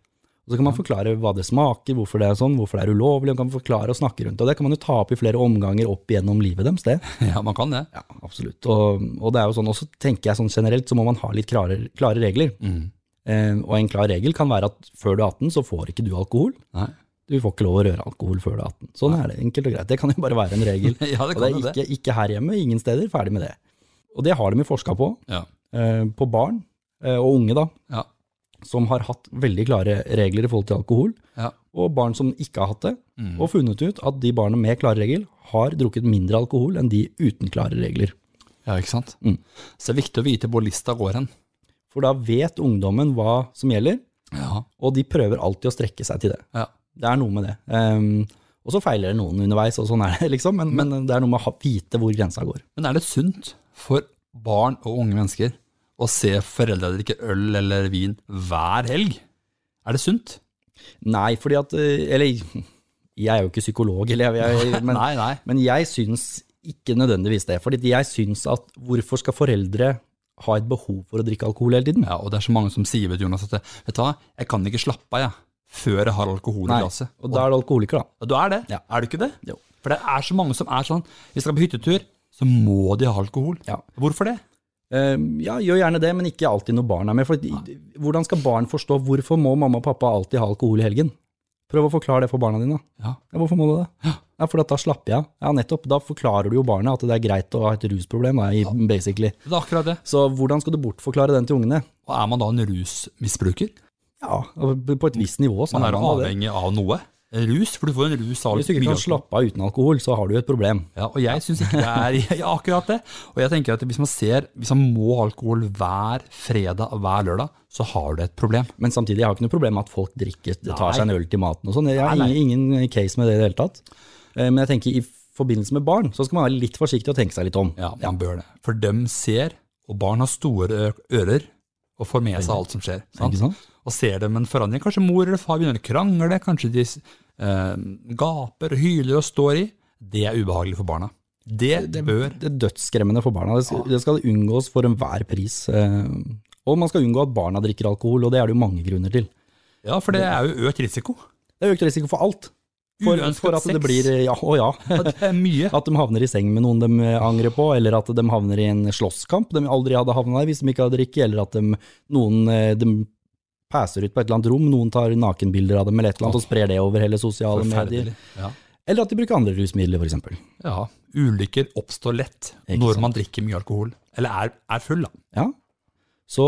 [SPEAKER 1] Og så kan man forklare hva det smaker, hvorfor det er sånn, hvorfor det er ulovlig. Man kan forklare og snakke rundt det. Og det kan man jo ta opp i flere omganger opp igjennom livet deres. det.
[SPEAKER 2] ja, man kan det.
[SPEAKER 1] Ja, absolutt. Og, og det er jo sånn, også tenker jeg sånn generelt, så må man ha litt klare, klare regler.
[SPEAKER 2] Mm.
[SPEAKER 1] Eh, og en klar regel kan være at før du er 18, så får ikke du alkohol.
[SPEAKER 2] Nei.
[SPEAKER 1] Du får ikke lov å røre alkohol før du er 18. Sånn er det, enkelt og greit. Det kan jo bare være en regel.
[SPEAKER 2] Ja, det
[SPEAKER 1] og det
[SPEAKER 2] kan jo
[SPEAKER 1] er
[SPEAKER 2] det.
[SPEAKER 1] ikke, ikke her hjemme, ingen steder, ferdig med det. Og det har de jo forska på,
[SPEAKER 2] Ja.
[SPEAKER 1] eh, på barn eh, og unge da,
[SPEAKER 2] Ja.
[SPEAKER 1] som har hatt veldig klare regler i forhold til alkohol,
[SPEAKER 2] Ja.
[SPEAKER 1] og barn som ikke har hatt det, og funnet ut at de barna med klare regel har drukket mindre alkohol enn de uten klare regler.
[SPEAKER 2] ja, ikke sant?
[SPEAKER 1] Mm.
[SPEAKER 2] Så det er viktig å vite hvor lista går hen.
[SPEAKER 1] For da vet ungdommen hva som gjelder,
[SPEAKER 2] Ja.
[SPEAKER 1] og de prøver alltid å strekke seg til det.
[SPEAKER 2] Ja.
[SPEAKER 1] Det er noe med det. Ehm, og så feiler det noen underveis, og sånn er det, liksom, men, men det er noe med å ha- vite hvor grensa går.
[SPEAKER 2] Men er det sunt for barn og unge mennesker å se foreldre drikke øl eller vin hver helg? Er det sunt?
[SPEAKER 1] Nei, fordi at eh, Eller jeg er jo ikke psykolog, eller jeg, jeg, men,
[SPEAKER 2] nei, nei.
[SPEAKER 1] men jeg syns ikke nødvendigvis det. Fordi jeg syns at hvorfor skal foreldre ha et behov for å drikke alkohol hele tiden?
[SPEAKER 2] Ja, og det er så mange som sier vet du, Jonas, at det, vet du hva, jeg kan ikke slappe av jeg, før jeg har alkohol i
[SPEAKER 1] Nei,
[SPEAKER 2] glasset.
[SPEAKER 1] og da er det alkoholiker, da.
[SPEAKER 2] Ja, du er det.
[SPEAKER 1] Ja.
[SPEAKER 2] Er du ikke det?
[SPEAKER 1] Jo.
[SPEAKER 2] For det er så mange som er sånn, vi skal på hyttetur, så må de ha alkohol.
[SPEAKER 1] Ja.
[SPEAKER 2] Hvorfor det?
[SPEAKER 1] Ehm, ja, gjør gjerne det, men ikke alltid når barn er med. For hvordan skal barn forstå hvorfor må mamma og pappa alltid ha alkohol i helgen? Prøv å forklare det for barna dine.
[SPEAKER 2] Ja.
[SPEAKER 1] Ja, hvorfor må du det? Ja, for da slapper jeg av. Ja, nettopp. Da forklarer du jo barna at det er greit å ha et rusproblem, da, i- basically.
[SPEAKER 2] Det er akkurat det.
[SPEAKER 1] Så hvordan skal du bortforklare den til ungene?
[SPEAKER 2] Og er man da en rusmisbruker?
[SPEAKER 1] Ja, på et visst nivå. Så
[SPEAKER 2] Man er
[SPEAKER 1] da det.
[SPEAKER 2] avhengig av noe. Rus, for du får en rus av
[SPEAKER 1] Hvis du ikke
[SPEAKER 2] mye
[SPEAKER 1] kan
[SPEAKER 2] alkohol.
[SPEAKER 1] slappe av uten alkohol, så har du jo et problem.
[SPEAKER 2] Ja, og jeg syns ikke det er ja, akkurat det. Og jeg tenker at hvis man ser, hvis man må ha alkohol hver fredag og hver lørdag, så har du et problem.
[SPEAKER 1] Men samtidig, jeg har ikke noe problem med at folk drikker, tar
[SPEAKER 2] Nei.
[SPEAKER 1] seg en øl til maten og sånn. Jeg har
[SPEAKER 2] Nei, nei.
[SPEAKER 1] ingen, ingen case med det i det hele tatt. Eh, Men jeg tenker i forbindelse med barn, så skal man være litt forsiktig og tenke seg litt om.
[SPEAKER 2] Ja, man bør det. For dem ser, og barn har store ø- ører og får med seg alt som skjer. Sant?
[SPEAKER 1] Ikke sant?
[SPEAKER 2] Og ser dem en forandring. Kanskje mor eller far begynner å krangle, kanskje de eh, gaper og hyler og står i. Det er ubehagelig for barna. Det, bør
[SPEAKER 1] Det er dødsskremmende for barna. Det skal, det skal unngås for enhver pris. eh, Og man skal unngå at barna drikker alkohol, og det er det jo mange grunner til.
[SPEAKER 2] Ja, for det er jo økt risiko.
[SPEAKER 1] Det er økt risiko for alt. For,
[SPEAKER 2] Uønsket
[SPEAKER 1] for at det
[SPEAKER 2] sex.
[SPEAKER 1] blir Ja, å ja.
[SPEAKER 2] Ja, Det er mye.
[SPEAKER 1] At de havner i seng med noen de angrer på, eller at de havner i en slåsskamp de aldri hadde havna i hvis de ikke hadde drikket, eller at de, noen eh, de passer ut på et eller annet rom, noen tar nakenbilder av dem eller et eller annet og sprer det over hele sosiale medier.
[SPEAKER 2] Forferdelig. Ja.
[SPEAKER 1] Eller at de bruker andre rusmidler, f.eks.
[SPEAKER 2] Ja, ulykker oppstår lett
[SPEAKER 1] Ikke
[SPEAKER 2] når
[SPEAKER 1] sant.
[SPEAKER 2] man drikker mye alkohol, eller er, er full, da.
[SPEAKER 1] Ja. Så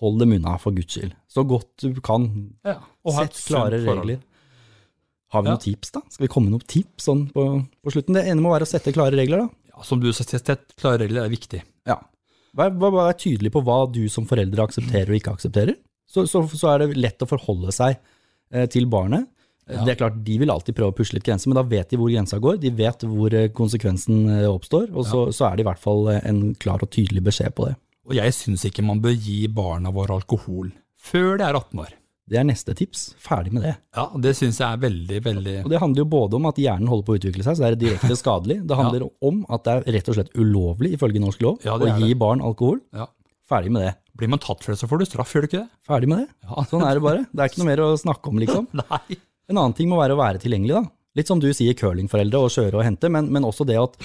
[SPEAKER 1] hold dem unna, for guds skyld. Så godt du kan.
[SPEAKER 2] Og har et
[SPEAKER 1] Sett klare
[SPEAKER 2] sunt forhold.
[SPEAKER 1] regler. Har vi
[SPEAKER 2] Ja.
[SPEAKER 1] noen tips, da? Skal vi komme med noen tips sånn på, på slutten? Det ene må være å sette klare regler, da.
[SPEAKER 2] Ja, som du sa, sett sett klare regler er viktig.
[SPEAKER 1] Ja. Vær, vær, vær tydelig på hva du som foreldre aksepterer og ikke aksepterer. Så, så, så er det lett å forholde seg eh, til barnet. Eh, Det er klart, De vil alltid prøve å pusle litt grenser, men da vet de hvor grensa går. De vet hvor eh, konsekvensen eh, oppstår, og så, så er det i hvert fall eh, en klar og tydelig beskjed på det.
[SPEAKER 2] Og jeg syns ikke man bør gi barna våre alkohol før de er 18 år.
[SPEAKER 1] Det er neste tips. Ferdig med det.
[SPEAKER 2] Ja, Det syns jeg er veldig, veldig
[SPEAKER 1] Og Det handler jo både om at hjernen holder på å utvikle seg, så det er direkte skadelig. Det handler om at det er rett og slett ulovlig ifølge norsk lov
[SPEAKER 2] Ja, det
[SPEAKER 1] å
[SPEAKER 2] er
[SPEAKER 1] gi barn alkohol.
[SPEAKER 2] ja.
[SPEAKER 1] Ferdig med det.
[SPEAKER 2] Blir man tatt for det, så får du straff, gjør du ikke det?
[SPEAKER 1] Ferdig med det.
[SPEAKER 2] Ja.
[SPEAKER 1] Sånn er det bare. Det er ikke noe mer å snakke om, liksom.
[SPEAKER 2] Nei.
[SPEAKER 1] En annen ting må være å være tilgjengelig, da. Litt som du sier curlingforeldre og kjøre og hente, men, men også det at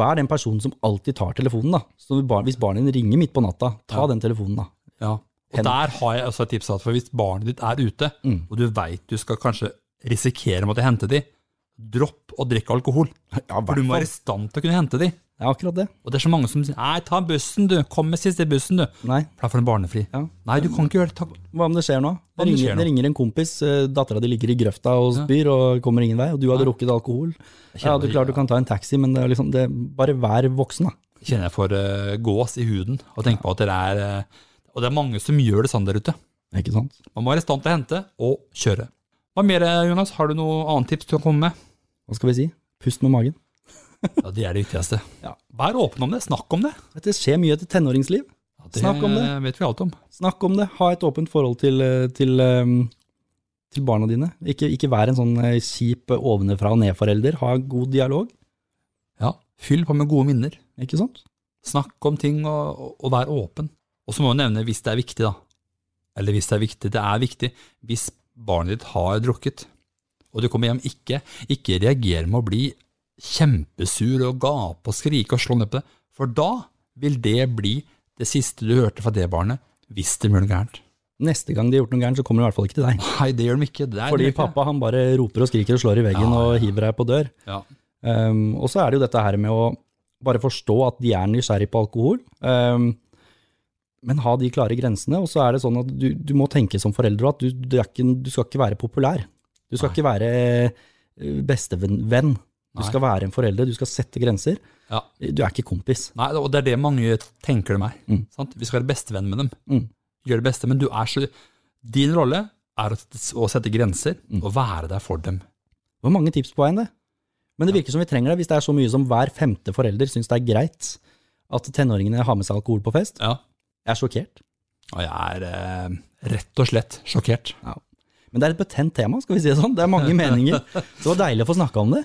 [SPEAKER 1] vær den personen som alltid tar telefonen, da. Så når bar- hvis barnet ditt ringer midt på natta, ta den telefonen, da.
[SPEAKER 2] Ja. Og
[SPEAKER 1] Hen- Mm.
[SPEAKER 2] der har jeg også et tips, at for hvis barnet ditt er ute, og du veit du skal kanskje risikere å måtte hente de, dropp å drikke alkohol.
[SPEAKER 1] Ja,
[SPEAKER 2] For du må være i stand til å kunne hente de.
[SPEAKER 1] Ja, akkurat det.
[SPEAKER 2] Og det er så mange som sier nei, ta bussen du, kom med siste bussen du.
[SPEAKER 1] Nei.
[SPEAKER 2] For da får du barnefri.
[SPEAKER 1] Ja.
[SPEAKER 2] Nei, du kan ikke gjøre det. Takk.
[SPEAKER 1] Hva om det skjer nå? Det
[SPEAKER 2] Hva om det
[SPEAKER 1] ringer,
[SPEAKER 2] skjer
[SPEAKER 1] det ringer en kompis, eh, dattera di ligger i grøfta og spyr og kommer ingen vei, og du hadde rukket alkohol. Ja, du klart du kan ta en taxi, men det er liksom, det, bare vær voksen, da.
[SPEAKER 2] Kjenner jeg får eh, gås i huden og tenker på at det er eh, Og det er mange som gjør det sånn der ute.
[SPEAKER 1] Ikke sant?
[SPEAKER 2] Man må være i stand til å hente og kjøre. Hva mer, eh, Jonas? Har du noe annet tips du kan komme med?
[SPEAKER 1] Hva skal vi si? Pust med magen.
[SPEAKER 2] Ja, Det er det viktigste.
[SPEAKER 1] Ja.
[SPEAKER 2] Vær åpen om det. Snakk om det.
[SPEAKER 1] Det skjer mye etter tenåringsliv.
[SPEAKER 2] det
[SPEAKER 1] Snakk om det.
[SPEAKER 2] vet vi alt om.
[SPEAKER 1] Snakk om det. Ha et åpent forhold til, eh, til, eh, til barna dine. Ikke, ikke vær en sånn eh, kjip eh, ovenfra og ned-forelder. Ha god dialog,
[SPEAKER 2] Ja, Fyll på med gode minner.
[SPEAKER 1] ikke sant?
[SPEAKER 2] Snakk om ting og, og- og vær åpen. Og så må vi nevne hvis det er viktig, da. Eller hvis det er viktig. Det er viktig hvis barnet ditt har drukket, og du kommer hjem ikke, ikke reager med å bli kjempesur og gape og skrike og slå ned på det, for da vil det bli det siste du hørte fra det barnet, hvis det gjør noe gærent.
[SPEAKER 1] Neste gang de har gjort noe gærent, så kommer de i hvert fall ikke til deg.
[SPEAKER 2] Nei, det gjør de ikke. Det er
[SPEAKER 1] Fordi
[SPEAKER 2] det ikke.
[SPEAKER 1] pappa han bare roper og skriker og slår i veggen
[SPEAKER 2] Ja, ja,
[SPEAKER 1] og hiver deg på dør.
[SPEAKER 2] Ja.
[SPEAKER 1] Um, og så er det jo dette her med å bare forstå at de er nysgjerrig på alkohol, um, men ha de klare grensene. Og så er det sånn at du, du må tenke som forelder at du, du, er ikke, du skal ikke være populær. Du skal ikke være eh, bestevenn. venn. Du
[SPEAKER 2] Nei.
[SPEAKER 1] skal være en forelder, du skal sette grenser.
[SPEAKER 2] Ja.
[SPEAKER 1] Du er ikke kompis.
[SPEAKER 2] Nei, og det er det mange tenker dem er.
[SPEAKER 1] Mm.
[SPEAKER 2] Sant? Vi skal være bestevenn med dem.
[SPEAKER 1] Mm.
[SPEAKER 2] Gjør det beste, men du er så Din rolle er å, å sette grenser
[SPEAKER 1] Mm.
[SPEAKER 2] og være der for dem.
[SPEAKER 1] Det var mange tips på veien, det. Men det virker som vi trenger det, hvis det er så mye som hver femte forelder syns det er greit at tenåringene har med seg alkohol på fest.
[SPEAKER 2] Ja.
[SPEAKER 1] Jeg er sjokkert.
[SPEAKER 2] Og jeg er eh, rett og slett sjokkert.
[SPEAKER 1] Ja. Men det er et betent tema, skal vi si det sånn. Det er mange meninger. Det var deilig å få snakka om det.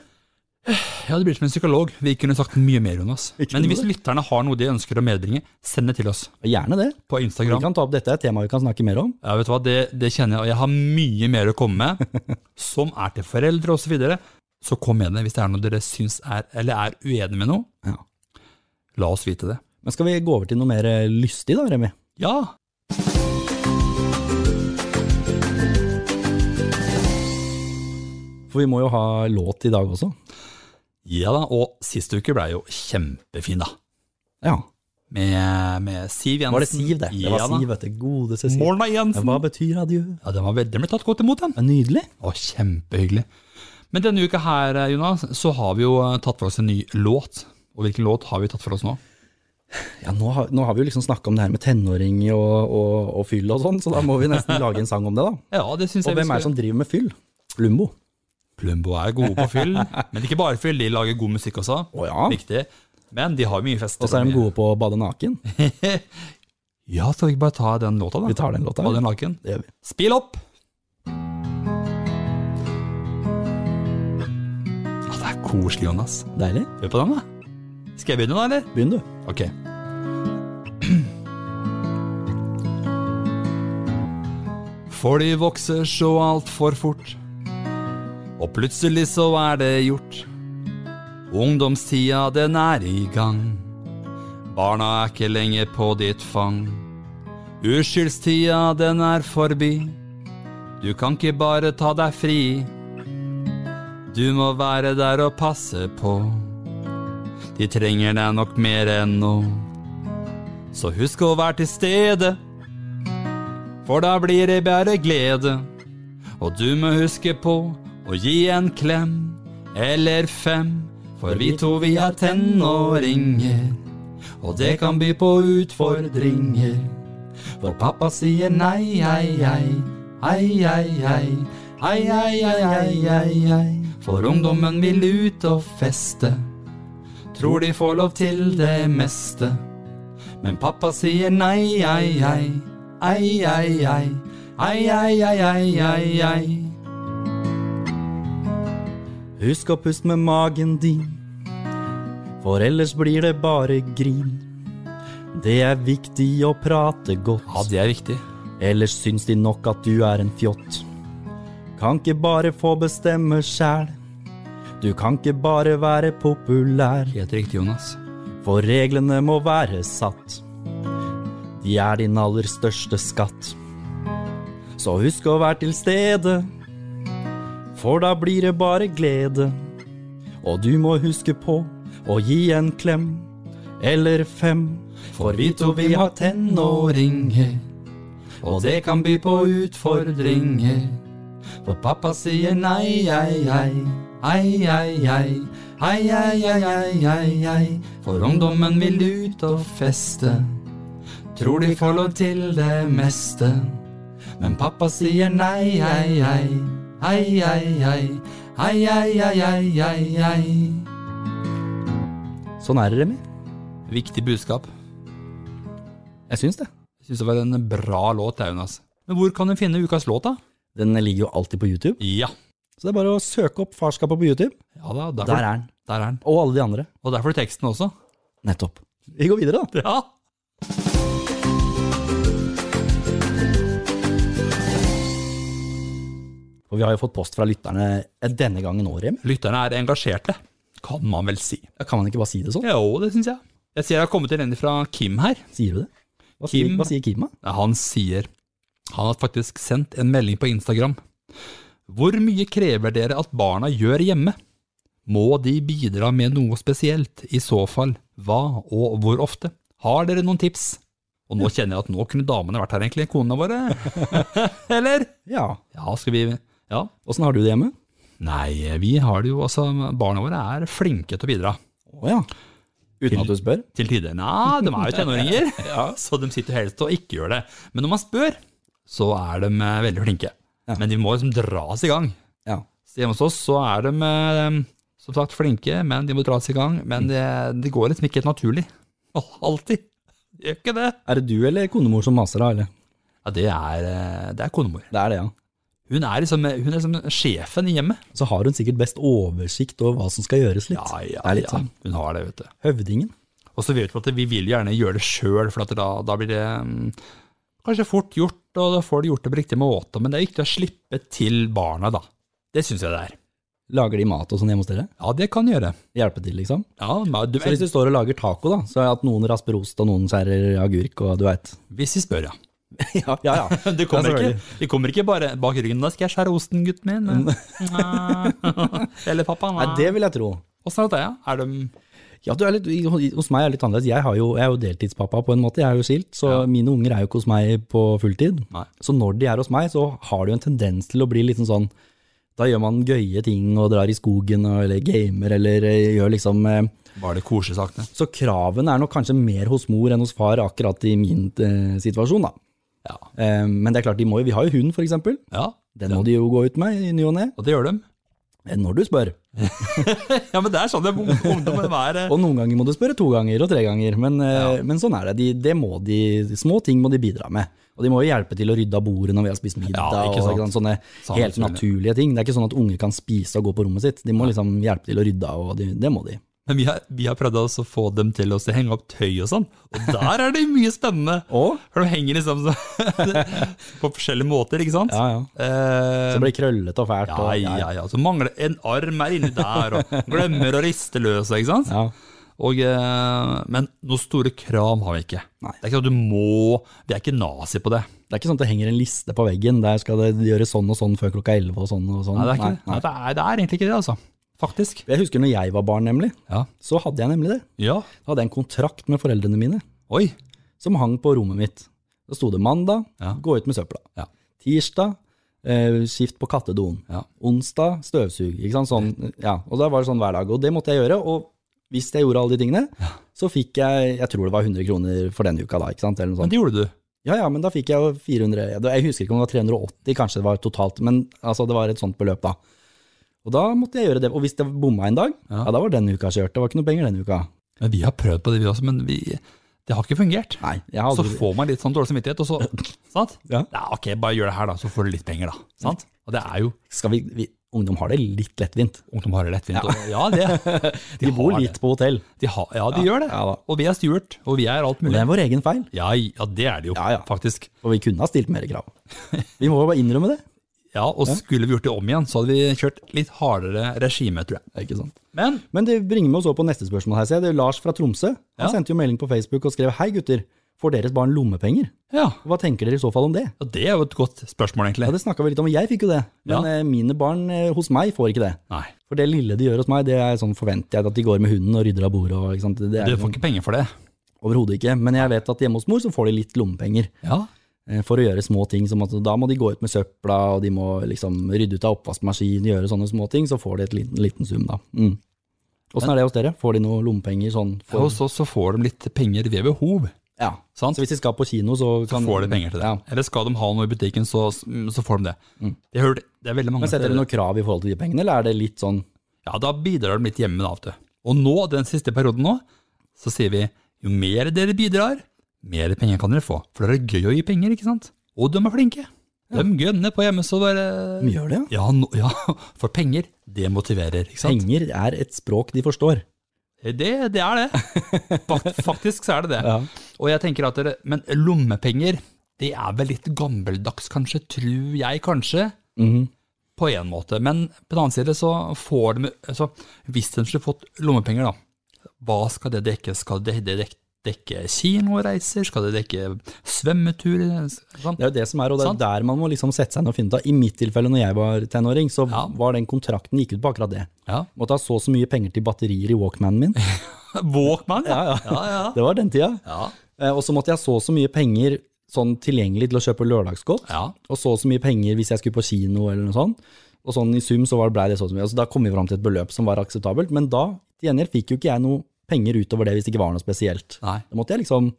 [SPEAKER 2] Ja, det blir som en psykolog. Vi kunne sagt mye mer, Jonas.
[SPEAKER 1] Vi kunne
[SPEAKER 2] Men hvis
[SPEAKER 1] det.
[SPEAKER 2] lytterne har noe de ønsker å medbringe, send det til oss
[SPEAKER 1] Og Gjerne det.
[SPEAKER 2] på
[SPEAKER 1] Vi
[SPEAKER 2] Instagram.
[SPEAKER 1] kan ta opp dette er et tema vi kan snakke mer om.
[SPEAKER 2] Ja, vet du hva, det, det kjenner jeg, og jeg har mye mer å komme med, som er til foreldre osv. Så, videre. så kom med det hvis det er noe dere syns er, eller er uenig med noe.
[SPEAKER 1] Ja.
[SPEAKER 2] La oss vite det.
[SPEAKER 1] Men skal vi gå over til noe mer eh, lystig da, Remi?
[SPEAKER 2] Ja!
[SPEAKER 1] For vi må jo ha låt i dag også.
[SPEAKER 2] Ja da, og sist uke ble jo kjempefin, da.
[SPEAKER 1] Ja.
[SPEAKER 2] Med, med Siv Jensen.
[SPEAKER 1] Var det Siv, det? Det var
[SPEAKER 2] ja, da.
[SPEAKER 1] Siv, vet du. Godeste Siv.
[SPEAKER 2] Morna Jensen.
[SPEAKER 1] Hva betyr adjø?
[SPEAKER 2] Ja, den, var, veld- den ble tatt godt imot, den.
[SPEAKER 1] Det er nydelig.
[SPEAKER 2] Å, kjempehyggelig. Men denne uka her, eh, Jonas, så har vi jo eh, tatt for oss en ny låt. Og hvilken låt har vi tatt for oss nå?
[SPEAKER 1] Ja, nå har, nå har vi jo liksom snakka om det her med tenåringer og, og, og fyll og sånn, så da må vi nesten lage en sang om det, da.
[SPEAKER 2] Ja, det synes
[SPEAKER 1] Og
[SPEAKER 2] jeg vi
[SPEAKER 1] hvem er det
[SPEAKER 2] skal-
[SPEAKER 1] som driver med fyll? Plumbo.
[SPEAKER 2] Plumbo er gode på fyll, men ikke bare fyll. De lager god musikk også.
[SPEAKER 1] Å ja.
[SPEAKER 2] Viktig. Men de har mye fester.
[SPEAKER 1] Og så er de gode på å bade naken.
[SPEAKER 2] Ja, skal vi ikke bare ta den låta, da?
[SPEAKER 1] Vi tar den låta.
[SPEAKER 2] Og den laken.
[SPEAKER 1] Det gjør vi.
[SPEAKER 2] Spill opp! Ja, det er koselig, Jonas.
[SPEAKER 1] Deilig.
[SPEAKER 2] Hør på den, da. Skal jeg begynne, da, eller?
[SPEAKER 1] Begynn, du.
[SPEAKER 2] Ok. For de vokser så altfor fort, og plutselig så er det gjort. Ungdomstida, den er i gang. Barna er ikke lenger på ditt fang. Uskyldstida, den er forbi. Du kan ikke bare ta deg fri. Du må være der og passe på. De trenger deg nok mer enn nå. Så husk å være til stede, for da blir det bare glede. Og du må huske på å gi en klem eller fem, for vi to vi er tenåringer. Og det kan by på utfordringer, for pappa sier nei, ei, ei, ei, ei, ei. Ei, ei, ei, ei, ei, ei. For ungdommen vil ut og feste. Tror de får lov til det meste. Men pappa sier nei, ei, ei. Ei, ei, ei. Ei, ei, ei, ei, ei, ei.
[SPEAKER 1] Husk å puste med magen din, for ellers blir det bare grin. Det er viktig å prate
[SPEAKER 2] Ja,
[SPEAKER 1] godt,
[SPEAKER 2] det er viktig.
[SPEAKER 1] ellers syns de nok at du er en fjott. Kan ikke bare få bestemme sjæl, du kan ikke bare være populær,
[SPEAKER 2] Helt riktig, Jonas.
[SPEAKER 1] for reglene må være satt. De er din aller største skatt. Så husk å være til stede, for da blir det bare glede. Og du må huske på å gi en klem, eller fem,
[SPEAKER 2] For vi to vi har tenåringer, og det kan by på utfordringer. For pappa sier nei, ei, ei. Ei, ei, ei. Ei, ei, ei, ei, ei, ei. For ungdommen vil ut og feste. Tror de får lov til det meste. Men pappa sier nei, ei, ei. Ei, ei, ei. Ei, ei, ei, ei, ei, ei.
[SPEAKER 1] Sånn er det, Remi.
[SPEAKER 2] Viktig budskap.
[SPEAKER 1] Jeg syns det.
[SPEAKER 2] Jeg syns det var en bra låt, det, Jonas. Men hvor kan du finne ukas låt, da?
[SPEAKER 1] Den ligger jo alltid på YouTube,
[SPEAKER 2] Ja.
[SPEAKER 1] så det er bare å søke opp farskapet på YouTube.
[SPEAKER 2] Ja da, der,
[SPEAKER 1] Der
[SPEAKER 2] får-
[SPEAKER 1] er den.
[SPEAKER 2] der er den.
[SPEAKER 1] Og alle de andre.
[SPEAKER 2] Og der får du teksten også.
[SPEAKER 1] Nettopp. Vi går videre, da.
[SPEAKER 2] Ja.
[SPEAKER 1] Og vi har jo fått post fra lytterne denne gangen òg, Remi.
[SPEAKER 2] Lytterne er engasjerte, kan man vel si.
[SPEAKER 1] Ja, Kan man ikke bare si det sånn?
[SPEAKER 2] Jo, det syns jeg. Jeg ser jeg har kommet inn en fra Kim her.
[SPEAKER 1] Sier du det? Hva sier,
[SPEAKER 2] Kim.
[SPEAKER 1] hva sier Kim, da?
[SPEAKER 2] Han sier Han har faktisk sendt en melding på Instagram. Hvor mye krever dere at barna gjør hjemme? Må de bidra med noe spesielt? I så fall, hva og hvor ofte? Har dere noen tips? Og nå kjenner jeg at nå kunne damene vært her, egentlig. Konene våre. Eller?
[SPEAKER 1] Ja.
[SPEAKER 2] Ja, skal vi Ja.
[SPEAKER 1] Åssen har du det hjemme?
[SPEAKER 2] Nei, vi har det jo Altså, barna våre er flinke til å bidra.
[SPEAKER 1] Å ja. Uten at du spør?
[SPEAKER 2] Til tider. Nei, de er jo tenåringer, så de sitter helst og ikke gjør det. Men når man spør, så er de eh, veldig flinke.
[SPEAKER 1] Ja.
[SPEAKER 2] Men de må liksom dras i gang.
[SPEAKER 1] Ja.
[SPEAKER 2] Så hjemme hos oss så er de eh, som sagt flinke, men de må dras i gang.
[SPEAKER 1] Mm.
[SPEAKER 2] Men det, det går liksom ikke helt naturlig. Al- Alltid. Det Gjør ikke det.
[SPEAKER 1] Er det du eller konemor som maser, da? eller?
[SPEAKER 2] Ja, det er, eh, det er konemor.
[SPEAKER 1] Det er det, ja.
[SPEAKER 2] Hun er, liksom, hun er liksom sjefen i hjemmet.
[SPEAKER 1] Så har hun sikkert best oversikt over hva som skal gjøres litt. det er litt sånn
[SPEAKER 2] Hun har det, vet du.
[SPEAKER 1] høvdingen.
[SPEAKER 2] Og så vet vi at vi vil gjerne gjøre det sjøl, for at da, da blir det mm, kanskje fort gjort, og da får du gjort det på riktig måte. Men det er viktig å slippe til barna, da. Det syns jeg det er.
[SPEAKER 1] Lager de mat og sånn hjemme hos dere?
[SPEAKER 2] Ja, det kan gjøre.
[SPEAKER 1] Hjelpe til, liksom?
[SPEAKER 2] Ja, men du,
[SPEAKER 1] Så hvis du står og lager taco, da, så er det at noen rasper ost og noen skjærer agurk og du veit.
[SPEAKER 2] hvis vi spør, ja.
[SPEAKER 1] Ja, ja, ja.
[SPEAKER 2] Det kommer,
[SPEAKER 1] Ja, selvfølgelig.
[SPEAKER 2] ikke, det kommer ikke bare bak ryggen. Da skal jeg skjære osten, gutten min. Nei. Eller pappa.
[SPEAKER 1] Nei,
[SPEAKER 2] Nei.
[SPEAKER 1] det vil jeg tro.
[SPEAKER 2] Åssen er det, ja? Er de
[SPEAKER 1] Ja, du er litt, Hos meg er det litt annerledes. Jeg, har jo, jeg er jo deltidspappa på en måte, jeg er jo skilt, så mine unger er jo ikke hos meg på fulltid.
[SPEAKER 2] Nei.
[SPEAKER 1] Så når de er hos meg, så har de jo en tendens til å bli litt sånn Da gjør man gøye ting og drar i skogen og, eller gamer eller eh, gjør liksom eh,
[SPEAKER 2] Bare de koselige sakene.
[SPEAKER 1] Så kravene er nok kanskje mer hos mor enn hos far akkurat i min eh, situasjon, da.
[SPEAKER 2] Ja.
[SPEAKER 1] Eh, men det er klart, de må jo, vi har jo hund, for eksempel.
[SPEAKER 2] ja.
[SPEAKER 1] Den må de jo gå ut med i ny og ne.
[SPEAKER 2] Og det gjør de.
[SPEAKER 1] eh, Når du spør.
[SPEAKER 2] Ja, men det er sånn det ungdommen er. eh.
[SPEAKER 1] Og noen ganger må du spørre to ganger og tre ganger, men, eh, men sånn er det. De, det må de, de små ting må de bidra med. Og de må jo hjelpe til å rydde av bordet når vi har spist middag,
[SPEAKER 2] Ja, ikke
[SPEAKER 1] og
[SPEAKER 2] sant.
[SPEAKER 1] ikke sant, sånne
[SPEAKER 2] Sant,
[SPEAKER 1] helt
[SPEAKER 2] selvfølgelig.
[SPEAKER 1] naturlige ting. Det er ikke sånn at unger kan spise og gå på rommet sitt. De må liksom hjelpe til å rydde av, og de, det må de.
[SPEAKER 2] Men vi har, vi har prøvd også å få dem til å henge opp tøy og sånn, og der er det mye spennende.
[SPEAKER 1] Og?
[SPEAKER 2] For de henger liksom så, på forskjellige måter, ikke sant?
[SPEAKER 1] Ja, ja.
[SPEAKER 2] Eh,
[SPEAKER 1] Så blir det krøllete og fælt.
[SPEAKER 2] ja,
[SPEAKER 1] Og,
[SPEAKER 2] ja, ja. Så mangler en arm er inni der, og glemmer å riste løs, ikke sant?
[SPEAKER 1] ja.
[SPEAKER 2] Og, eh, men noen store krav har vi ikke.
[SPEAKER 1] Nei.
[SPEAKER 2] Det er ikke sånn at du må, vi er ikke nazi på det.
[SPEAKER 1] Det er ikke sånn at det henger en liste på veggen, der skal det gjøres sånn og sånn før klokka 11 og sånn og sånn.
[SPEAKER 2] Nei, det er, ikke,
[SPEAKER 1] Nei,
[SPEAKER 2] det. Nei, det, er, det er egentlig ikke det, altså. Faktisk.
[SPEAKER 1] Jeg husker når jeg var barn, nemlig,
[SPEAKER 2] Ja.
[SPEAKER 1] så hadde jeg nemlig det.
[SPEAKER 2] ja.
[SPEAKER 1] Da hadde jeg en kontrakt med foreldrene mine
[SPEAKER 2] Oi.
[SPEAKER 1] som hang på rommet mitt. Da sto det mandag,
[SPEAKER 2] Ja.
[SPEAKER 1] gå ut med søpla.
[SPEAKER 2] Ja.
[SPEAKER 1] Tirsdag, eh, skift på kattedoen.
[SPEAKER 2] Ja.
[SPEAKER 1] Onsdag, støvsug. Ikke sant? Sånn, ja. Og da var det sånn hver dag. Og det måtte jeg gjøre. Og hvis jeg gjorde alle de tingene, så fikk jeg, jeg tror det var 100 kroner for den uka da, ikke sant? Eller noe sånt.
[SPEAKER 2] Men det gjorde du.
[SPEAKER 1] Ja, ja, men da fikk jeg jo 400 Jeg jeg husker ikke om det var 380, kanskje det var totalt, men altså, det var et sånt beløp da. Og da måtte jeg gjøre det. Og hvis det bomma en dag, ja.
[SPEAKER 2] Ja.
[SPEAKER 1] da var den uka kjørt. Det var ikke noe penger den uka.
[SPEAKER 2] Men vi har prøvd på det vi også, men vi, det har ikke fungert.
[SPEAKER 1] Nei, jeg har
[SPEAKER 2] Så
[SPEAKER 1] aldri...
[SPEAKER 2] får man litt sånn dårlig samvittighet, og så sant?
[SPEAKER 1] Ja.
[SPEAKER 2] ok, bare gjør det her, da, så får du litt penger, da. Sant? Og det er jo
[SPEAKER 1] Skal vi, vi... Ungdom har det litt lettvint.
[SPEAKER 2] Ungdom har det lettvint. og- Ja, det.
[SPEAKER 1] De, bor
[SPEAKER 2] har
[SPEAKER 1] litt
[SPEAKER 2] det.
[SPEAKER 1] på hotell.
[SPEAKER 2] De har, ja, de gjør det.
[SPEAKER 1] Ja, da.
[SPEAKER 2] Og vi er styrt, og vi er alt
[SPEAKER 1] Det
[SPEAKER 2] mulig.
[SPEAKER 1] er vår egen feil,
[SPEAKER 2] Ja, ja det er det jo,
[SPEAKER 1] Ja, ja.
[SPEAKER 2] faktisk.
[SPEAKER 1] og vi kunne ha stilt mer krav. Vi må jo bare innrømme det.
[SPEAKER 2] Ja, Og skulle vi gjort det om igjen, så hadde vi kjørt litt hardere regime, tror jeg.
[SPEAKER 1] Det er ikke sant.
[SPEAKER 2] Men
[SPEAKER 1] Men det bringer meg oss over på neste spørsmål her. ser jeg. Det er Lars fra Tromsø. Han
[SPEAKER 2] Ja.
[SPEAKER 1] sendte jo melding på Facebook og skrev Hei gutter, får deres barn lommepenger?
[SPEAKER 2] ja,
[SPEAKER 1] Hva tenker dere i så fall om det?
[SPEAKER 2] ja, det er jo et godt spørsmål,
[SPEAKER 1] Ja,
[SPEAKER 2] egentlig.
[SPEAKER 1] det snakka vi litt om, og jeg fikk jo det. Men eh, mine barn eh, hos meg får ikke det.
[SPEAKER 2] Nei,
[SPEAKER 1] For det lille de gjør hos meg, det er sånn forventer jeg at de går med hunden og rydder av bordet. Og, ikke sant? Det er liksom
[SPEAKER 2] du får ikke penger for det.
[SPEAKER 1] overhodet ikke. Men jeg vet at hjemme hos mor så får de litt lommepenger
[SPEAKER 2] Ja,
[SPEAKER 1] eh, for å gjøre små ting. Som at da må de gå ut med søpla, og de må liksom rydde ut av oppvaskmaskinen, gjøre sånne små ting. Så får de et liten, liten sum, da. Mm. Åssen er det hos dere? Får de noe lommepenger sånn? For,
[SPEAKER 2] Hos oss så får de litt penger ved behov.
[SPEAKER 1] ja.
[SPEAKER 2] Sant?
[SPEAKER 1] Så hvis de skal på kino, så
[SPEAKER 2] så
[SPEAKER 1] kan
[SPEAKER 2] får de penger til det.
[SPEAKER 1] Ja. Mm.
[SPEAKER 2] Eller skal de ha noe i butikken, så, så får de det. Det, hører, det er veldig mange
[SPEAKER 1] Men setter dere
[SPEAKER 2] steder.
[SPEAKER 1] noe krav i forhold til de pengene, eller er det litt sånn
[SPEAKER 2] Ja, da bidrar de litt hjemme, da. vet du. Og nå, den siste perioden nå, så sier vi jo mer dere bidrar, Mer penger kan dere få, for det er gøy å gi penger, ikke sant? Og de er flinke. De gønner på hjemme, så bare
[SPEAKER 1] De gjør det, ja.
[SPEAKER 2] ja, no, ja, for penger, det motiverer, ikke sant?
[SPEAKER 1] Penger er et språk de forstår.
[SPEAKER 2] Det, det er det. Fak- Faktisk så er det det.
[SPEAKER 1] Ja.
[SPEAKER 2] Og jeg tenker at dere, Men lommepenger, det er vel litt gammeldags, kanskje, tror jeg kanskje, Mm-hmm.
[SPEAKER 1] Mhm.
[SPEAKER 2] på en måte. Men på den annen side så får de altså, Hvis de skulle fått lommepenger, da, hva skal det dekke? Skal det det dek- dekke kinoreiser? Skal det dekke svømmeturer? Sånn?
[SPEAKER 1] Det er jo det som er, og det er
[SPEAKER 2] Sant.
[SPEAKER 1] der man må liksom sette seg ned og finne ut av. I mitt tilfelle, når jeg var tenåring, så
[SPEAKER 2] Ja.
[SPEAKER 1] var den kontrakten gikk ut på akkurat det.
[SPEAKER 2] Ja.
[SPEAKER 1] Måtte ha så og så mye penger til batterier i Walkmanen min.
[SPEAKER 2] Walkman, ja. Ja, ja.
[SPEAKER 1] Det var den tida.
[SPEAKER 2] ja.
[SPEAKER 1] Eh, Og så måtte jeg ha så og så mye penger sånn tilgjengelig til å kjøpe lørdagsgodt.
[SPEAKER 2] ja.
[SPEAKER 1] og så og så mye penger hvis jeg skulle på kino eller noe sånt. Og sånn i sum så var- ble det så og så mye. Altså, da kom vi fram til et beløp som var akseptabelt, men da til gjengjeld fikk jo ikke jeg noe penger utover det hvis det ikke var noe spesielt.
[SPEAKER 2] Nei.
[SPEAKER 1] Da måtte jeg liksom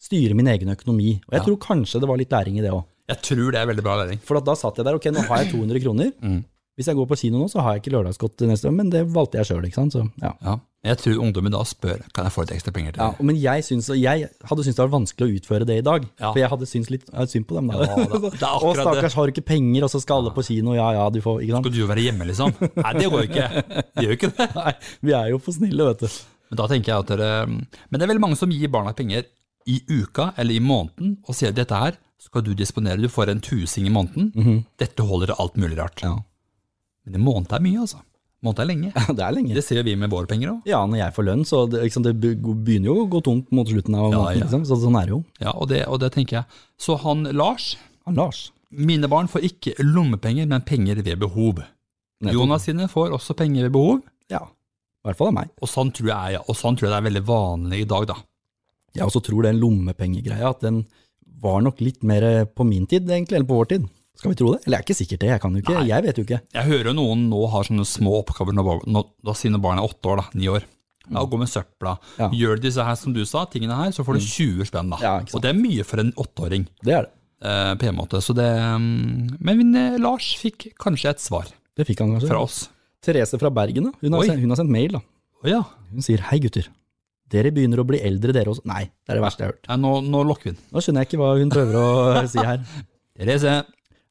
[SPEAKER 1] styre min egen økonomi, og jeg
[SPEAKER 2] Ja.
[SPEAKER 1] tror kanskje det var litt læring i det òg.
[SPEAKER 2] Jeg tror det er veldig bra læring.
[SPEAKER 1] For at da satt jeg der, ok, nå har jeg 200 kroner.
[SPEAKER 2] Mm.
[SPEAKER 1] Hvis jeg går på kino nå, så har jeg ikke lørdagsgodt til neste år, men det valgte jeg sjøl, ikke sant. Så, ja.
[SPEAKER 2] Ja. Jeg tror ungdommen da spør kan jeg få litt ekstra penger til
[SPEAKER 1] Ja,
[SPEAKER 2] det.
[SPEAKER 1] men jeg, syns, og jeg hadde syntes det var vanskelig å utføre det i dag,
[SPEAKER 2] Ja.
[SPEAKER 1] for jeg hadde syntes litt jeg hadde synd på dem. da.
[SPEAKER 2] Ja, da. Det er
[SPEAKER 1] og
[SPEAKER 2] akkurat det.
[SPEAKER 1] stakkars har ikke penger, og så skal alle på kino, ja ja, du får ikke sant?
[SPEAKER 2] Skal du jo være hjemme, liksom? Nei, det går jo ikke. Det gjør jo ikke det.
[SPEAKER 1] Nei, vi er jo for snille, vet du.
[SPEAKER 2] Men da tenker jeg at dere Men det er veldig mange som gir barna penger i uka eller i måneden og sier dette her skal du disponere, du får en tusing i måneden. Dette holder til alt mulig rart. Men en måned er mye, altså. En måned er lenge.
[SPEAKER 1] Det er lenge.
[SPEAKER 2] Det ser jo vi med våre penger òg.
[SPEAKER 1] Ja, når jeg får lønn, så det, ikke sant, det be- begynner jo å gå tomt mot slutten av
[SPEAKER 2] Ja,
[SPEAKER 1] måneden,
[SPEAKER 2] ja.
[SPEAKER 1] liksom. Så sånn er det jo.
[SPEAKER 2] Ja, og det, og det tenker jeg. Så han Lars
[SPEAKER 1] Han Lars.
[SPEAKER 2] Mine barn får ikke lommepenger, men penger ved behov.
[SPEAKER 1] Nettopp.
[SPEAKER 2] Jonas sine får også penger ved behov,
[SPEAKER 1] Ja. I hvert fall av meg.
[SPEAKER 2] og sånn tror jeg, og sånn tror jeg det er veldig vanlig i dag, da.
[SPEAKER 1] Jeg også tror den lommepengegreia, at den var nok litt mer eh, på min tid, egentlig, eller på vår tid. Skal vi tro det? Eller jeg er ikke sikkert det, jeg kan jo ikke, jeg vet jo ikke.
[SPEAKER 2] Jeg hører jo noen nå har sånne små oppgaver når, bar- når, da sine barn er åtte år, da, ni år. Ja, Gå med søpla.
[SPEAKER 1] Mm. Ja. Mm.
[SPEAKER 2] Gjør disse her som du sa, tingene her, så får du 20 spenn. da.
[SPEAKER 1] Ja, ikke sant.
[SPEAKER 2] og det er mye for en åtteåring.
[SPEAKER 1] Det er det.
[SPEAKER 2] Eh, på en måte. Så det, mm, men eh, Lars fikk kanskje et svar
[SPEAKER 1] Det fikk han kanskje.
[SPEAKER 2] fra oss.
[SPEAKER 1] Therese fra Bergen, da. Hun har,
[SPEAKER 2] Oi.
[SPEAKER 1] sendt, hun har sendt mail, da.
[SPEAKER 2] Å ja,
[SPEAKER 1] Hun sier hei, gutter. Dere begynner å bli eldre, dere også. Nei, det er det verste jeg har hørt.
[SPEAKER 2] Nei, nå, nå lokker vi den.
[SPEAKER 1] Nå skjønner jeg ikke hva hun prøver å si her.
[SPEAKER 2] Therese.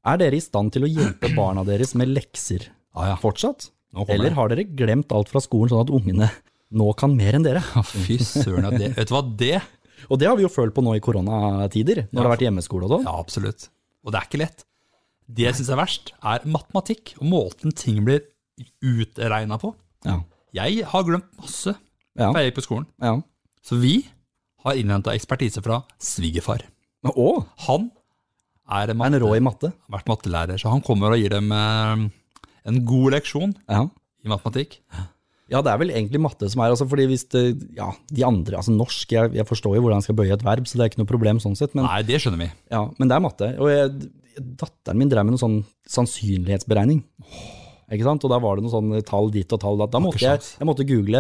[SPEAKER 1] Er dere i stand til å hjelpe barna deres med lekser
[SPEAKER 2] Ah, ja.
[SPEAKER 1] fortsatt?
[SPEAKER 2] Nå kommer
[SPEAKER 1] Eller
[SPEAKER 2] det.
[SPEAKER 1] har dere glemt alt fra skolen, sånn at ungene nå kan mer enn dere?
[SPEAKER 2] Ja, Fy søren. ja, Det, vet du hva, det
[SPEAKER 1] Og det har vi jo følt på nå i koronatider, når det har vært hjemmeskole og sånn.
[SPEAKER 2] Ja, absolutt. Og det er ikke lett. Det jeg syns er verst, er matematikk og måten ting blir utregna på.
[SPEAKER 1] Ja.
[SPEAKER 2] Jeg har glemt masse
[SPEAKER 1] Ja.
[SPEAKER 2] fra jeg gikk på skolen.
[SPEAKER 1] ja.
[SPEAKER 2] Så vi har innhenta ekspertise fra svigerfar.
[SPEAKER 1] Å,
[SPEAKER 2] Han er
[SPEAKER 1] er
[SPEAKER 2] matte,
[SPEAKER 1] han rå i matte?
[SPEAKER 2] har vært mattelærer, så han kommer og gir dem eh, en god leksjon
[SPEAKER 1] Ja.
[SPEAKER 2] i matematikk.
[SPEAKER 1] Ja, det er vel egentlig matte som er, altså, fordi hvis det, ja, de andre, altså norsk, jeg, jeg forstår jo hvordan jeg skal bøye et verb, så det er ikke noe problem sånn sett, men,
[SPEAKER 2] Nei, det skjønner vi.
[SPEAKER 1] ja, men det er matte. Og jeg, datteren min drev med noe sånn sannsynlighetsberegning. Ikke sant? Og da var det noe sånn tall dit og tall da. Da måtte jeg, jeg måtte google.